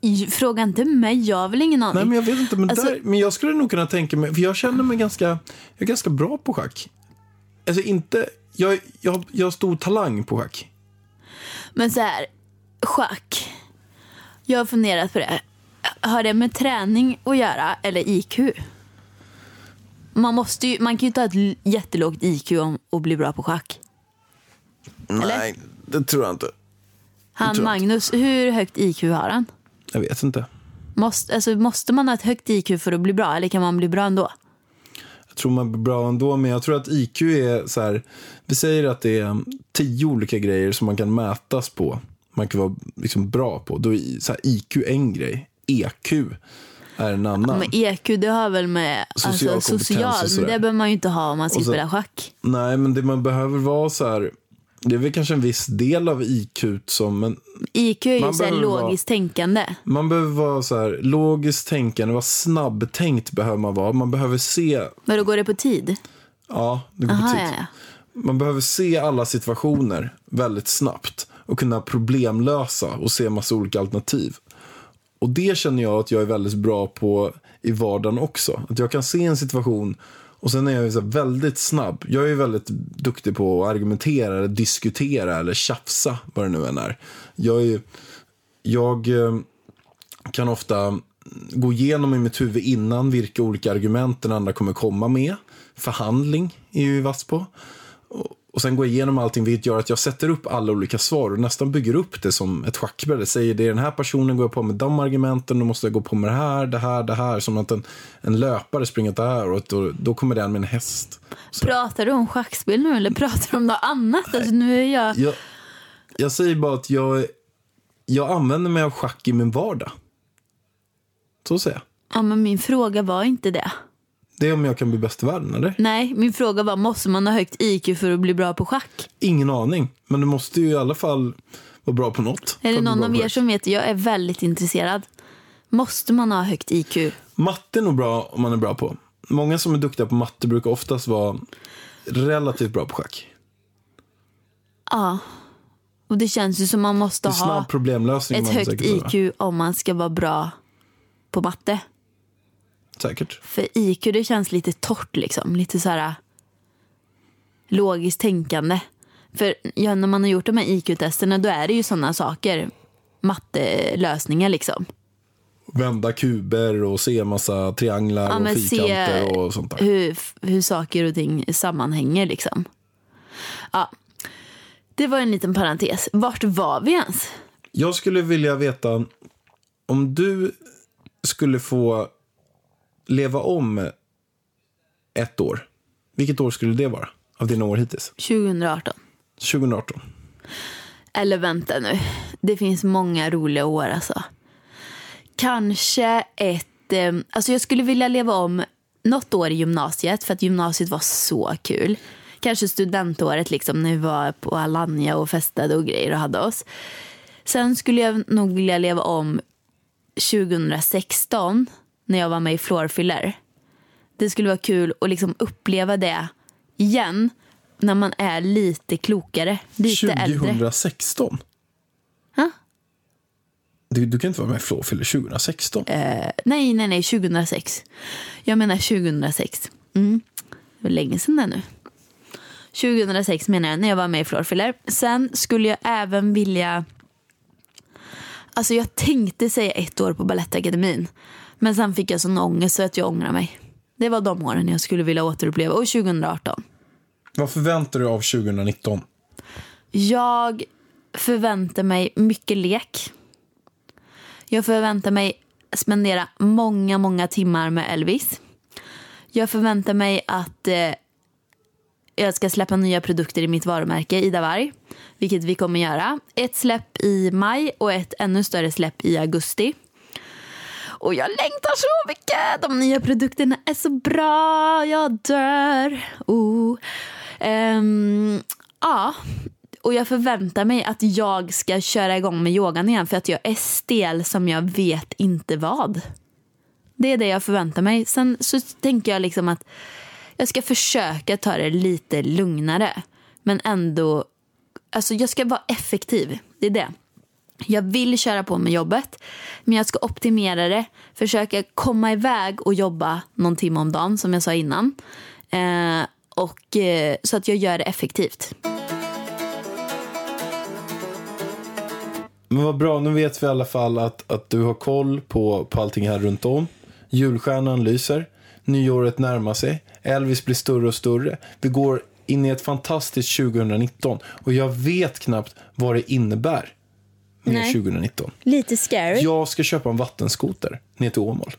[SPEAKER 1] J- Fråga inte mig, jag har väl ingen aning.
[SPEAKER 2] Nej, men jag vet inte. Men,
[SPEAKER 1] Alltså-
[SPEAKER 2] där, men jag skulle nog kunna tänka mig, för jag känner mig ganska, jag är ganska bra på schack. Alltså inte, jag, jag, jag har stor talang på schack.
[SPEAKER 1] Men så här, schack. Jag har funderat på det. Har det med träning att göra eller IQ? Man, måste ju, man kan ju inte ha ett l- jättelågt IQ om, och bli bra på schack.
[SPEAKER 2] Nej, det tror jag inte.
[SPEAKER 1] Han
[SPEAKER 2] tror jag
[SPEAKER 1] Magnus, hur högt IQ har han?
[SPEAKER 2] Jag vet inte.
[SPEAKER 1] Måste, alltså, måste man ha ett högt IQ för att bli bra eller kan man bli bra ändå?
[SPEAKER 2] Jag tror man blir bra ändå, men jag tror att IQ är så här, vi säger att det är tio olika grejer som man kan mätas på. Man kan vara liksom bra på. Då är i- så här, IQ en grej, EQ är en annan.
[SPEAKER 1] Men E- EQ det har väl med
[SPEAKER 2] Social
[SPEAKER 1] alltså,
[SPEAKER 2] kompetens och
[SPEAKER 1] social men
[SPEAKER 2] sådär.
[SPEAKER 1] det behöver man ju inte ha om man ska
[SPEAKER 2] Och så-
[SPEAKER 1] spela schack.
[SPEAKER 2] Nej, men det man behöver vara så här, det är väl kanske en viss del av IQ som, men
[SPEAKER 1] IQ är ju
[SPEAKER 2] Man
[SPEAKER 1] så här
[SPEAKER 2] behöver vara-
[SPEAKER 1] logiskt tänkande.
[SPEAKER 2] Man behöver vara så här, logiskt tänkande, vara snabbtänkt behöver man vara. Man behöver se,
[SPEAKER 1] Men då går det på tid?
[SPEAKER 2] ja, det går på
[SPEAKER 1] Aha,
[SPEAKER 2] tid.
[SPEAKER 1] ja, ja.
[SPEAKER 2] Man behöver se alla situationer väldigt snabbt och kunna problemlösa och se massa olika alternativ. Och det känner jag att jag är väldigt bra på i vardagen också. Att jag kan se en situation och sen är jag ju så här väldigt snabb. Jag är ju väldigt duktig på att argumentera, eller diskutera eller tjafsa, vad det nu än är. Jag är ju, jag eh, kan ofta gå igenom i mitt huvud innan vilka olika argument den andra kommer komma med. Förhandling är jag ju vass på. Och- Och sen gå igenom allting vilket gör att jag sätter upp alla olika svar och nästan bygger upp det som ett schackbräde. Säger det är den här personen går jag på med de argumenten, då måste jag gå på med det här, det här, det här. Som att en, en löpare springer åt det här och då, då kommer den med en häst.
[SPEAKER 1] Pratar du om schackspel nu eller pratar du om något annat? Alltså, nu är jag...
[SPEAKER 2] Jag, jag säger bara att jag, jag använder mig av schack i min vardag. Så säger jag.
[SPEAKER 1] Ja, men min fråga var inte det.
[SPEAKER 2] Det är om jag kan bli bäst i världen, eller?
[SPEAKER 1] Nej, min fråga var måste man ha högt IQ för att bli bra på schack?
[SPEAKER 2] Ingen aning. Men du måste ju i alla fall vara bra på något.
[SPEAKER 1] Är
[SPEAKER 2] för
[SPEAKER 1] det
[SPEAKER 2] att bli
[SPEAKER 1] någon
[SPEAKER 2] bra
[SPEAKER 1] av
[SPEAKER 2] på
[SPEAKER 1] er
[SPEAKER 2] det.
[SPEAKER 1] som vet? Jag är väldigt intresserad. Måste man ha högt IQ?
[SPEAKER 2] Matte är nog bra om man är bra på. Många som är duktiga på matte brukar oftast vara relativt bra på schack.
[SPEAKER 1] Ja. Och det känns ju som man måste
[SPEAKER 2] Det är
[SPEAKER 1] ha
[SPEAKER 2] snabb problemlösning.
[SPEAKER 1] ett
[SPEAKER 2] man
[SPEAKER 1] högt
[SPEAKER 2] säkert behöver.
[SPEAKER 1] IQ om man ska vara bra på matte.
[SPEAKER 2] Säkert.
[SPEAKER 1] För IQ det känns lite torrt liksom. Lite så här äh, logiskt tänkande. För ja, när man har gjort de här IQ-testerna då är det ju sådana saker. Mattelösningar liksom.
[SPEAKER 2] Vända kuber och se en massa trianglar
[SPEAKER 1] Ja,
[SPEAKER 2] och
[SPEAKER 1] men
[SPEAKER 2] fyrkanter och sånt där.
[SPEAKER 1] hur, f- hur saker och ting sammanhänger liksom. Ja. Det var en liten parentes. Vart var vi ens?
[SPEAKER 2] Jag skulle vilja veta om du skulle få leva om ett år. Vilket år skulle det vara av dina år hittills?
[SPEAKER 1] 2018.
[SPEAKER 2] 2018.
[SPEAKER 1] Eller vänta nu. Det finns många roliga år alltså. Kanske ett... Eh, alltså jag skulle vilja leva om något år i gymnasiet för att gymnasiet var så kul. Kanske studentåret liksom när vi var på Alanya och festade och grejer och hade oss. Sen skulle jag nog vilja leva om 2016 när jag var med i Floorfiller. Det skulle vara kul att liksom uppleva det igen när man är lite klokare, lite äldre.
[SPEAKER 2] 2016?
[SPEAKER 1] Ja.
[SPEAKER 2] Du, du kan inte vara med i Flåfyller 2016.
[SPEAKER 1] Eh. Nej, nej, nej, 2006. Jag menar 2006. Mm. Det var länge sedan det nu. 2006 menar jag, när jag var med i Floorfiller. Sen skulle jag även vilja... Alltså jag tänkte säga ett år på Balettakademin. Men sen fick jag sån ångest så att jag ångrar mig. Det var de åren jag skulle vilja återuppleva. Och 2018.
[SPEAKER 2] Vad förväntar du av 2019?
[SPEAKER 1] Jag förväntar mig mycket lek. Jag förväntar mig spendera många, många timmar med Elvis. Jag förväntar mig att eh, jag ska släppa nya produkter i mitt varumärke Ida Varg, vilket vi kommer göra. Ett släpp i maj och ett ännu större släpp i augusti. Och jag längtar så mycket! De nya produkterna är så bra, jag dör. Oh. Ehm, ja, och jag förväntar mig att jag ska köra igång med yogan igen för att jag är stel som jag vet inte vad. Det är det jag förväntar mig. Sen så tänker jag liksom att jag ska försöka ta det lite lugnare. Men ändå, alltså jag ska vara effektiv. Det är det. Jag vill köra på med jobbet, men jag ska optimera det. Försöka komma iväg och jobba någon timme om dagen, som jag sa innan. Eh, och, eh, så att jag gör det effektivt.
[SPEAKER 2] Men vad bra, nu vet vi i alla fall att, att du har koll på, på allting här runt om. Julstjärnan lyser, nyåret närmar sig, Elvis blir större och större. Vi går in i ett fantastiskt 2019 och jag vet knappt vad det innebär med
[SPEAKER 1] Nej.
[SPEAKER 2] 2019.
[SPEAKER 1] Lite scary.
[SPEAKER 2] Jag ska köpa en vattenskoter ner till Åmål.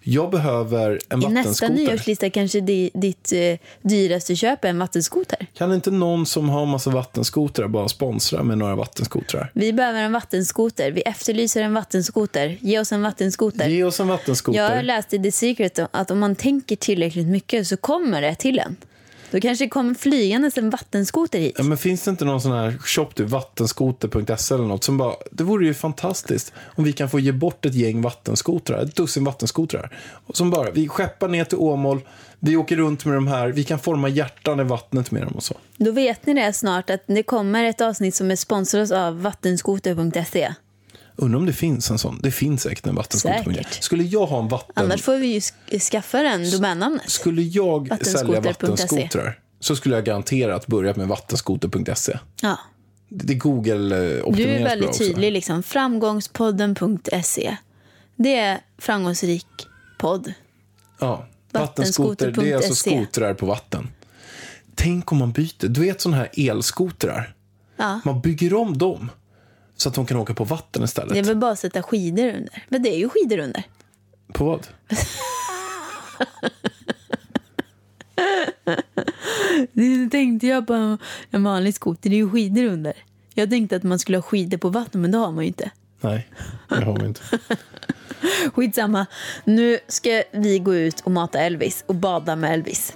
[SPEAKER 2] Jag behöver en
[SPEAKER 1] Mm. I nästa
[SPEAKER 2] vattenskoter.
[SPEAKER 1] nyårslista kanske di, ditt eh, dyraste köp är en vattenskoter.
[SPEAKER 2] Kan inte någon som har massa vattenskotrar bara sponsra med några vattenskotrar?
[SPEAKER 1] Vi behöver en vattenskoter. Vi efterlyser en vattenskoter. Ge oss en vattenskoter.
[SPEAKER 2] Ge oss en vattenskoter.
[SPEAKER 1] Jag läste i The Secret att om man tänker tillräckligt mycket så kommer det till en. Då kanske det kommer flygandes en vattenskoter hit.
[SPEAKER 2] Ja, men finns det inte någon sån här shop, typ vattenskoter.se eller något som bara, det vore ju fantastiskt om vi kan få ge bort ett gäng vattenskotrar, ett dussin vattenskotrar. Och Som bara, vi skeppar ner till Åmål, vi åker runt med de här, vi kan forma hjärtan i vattnet med dem och så.
[SPEAKER 1] Då vet ni det snart att det kommer ett avsnitt som är sponsrat av vattenskoter.se.
[SPEAKER 2] Undrar om det finns en sån, det finns säkert en vattenskoter.
[SPEAKER 1] Säkert.
[SPEAKER 2] Skulle jag ha en vatten,
[SPEAKER 1] Annars får vi ju sk- skaffa den domännamnet.
[SPEAKER 2] skulle jag sälja
[SPEAKER 1] Vattenskoter.se.
[SPEAKER 2] vattenskotrar så skulle jag garanterat börja med vattenskoter.se.
[SPEAKER 1] Ja.
[SPEAKER 2] Det är Google-optimerat
[SPEAKER 1] Du är
[SPEAKER 2] bra
[SPEAKER 1] väldigt
[SPEAKER 2] också.
[SPEAKER 1] tydlig. Liksom. Framgångspodden.se. Det är framgångsrik podd.
[SPEAKER 2] Ja, vattenskoter, det är alltså
[SPEAKER 1] Vattenskoter.se.
[SPEAKER 2] skotrar på vatten. Tänk om man byter, du vet sådana här elskotrar?
[SPEAKER 1] Ja.
[SPEAKER 2] Man bygger om dem så att de kan åka på vatten istället.
[SPEAKER 1] Det är väl bara att sätta skidor under. Men det är ju skidor under.
[SPEAKER 2] På vad?
[SPEAKER 1] Nu tänkte jag på en- en vanlig skoter. Det är ju skidor under. Jag tänkte att man skulle ha skidor på vatten, men det har man ju inte.
[SPEAKER 2] Nej, det har vi inte.
[SPEAKER 1] Skitsamma. Nu ska vi gå ut och mata Elvis och bada med Elvis.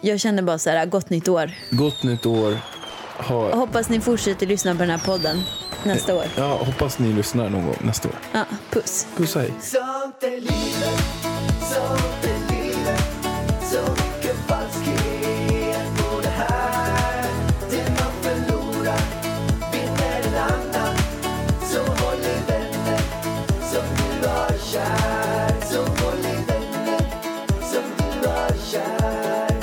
[SPEAKER 1] Jag känner bara så här, gott nytt år.
[SPEAKER 2] Gott nytt år.
[SPEAKER 1] Jag
[SPEAKER 2] Ha,
[SPEAKER 1] hoppas ni fortsätter lyssna på den här podden nästa år.
[SPEAKER 2] ja, hoppas ni lyssnar någon gång nästa år.
[SPEAKER 1] Ja, puss.
[SPEAKER 2] Puss och hej.
[SPEAKER 6] Sånt är livet, sånt är livet Så mycket falskhet på det här Det man förlorar vinner en annan Så håll i vänner som du har kär Så håll i vänner som du har kär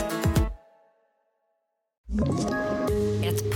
[SPEAKER 3] Ett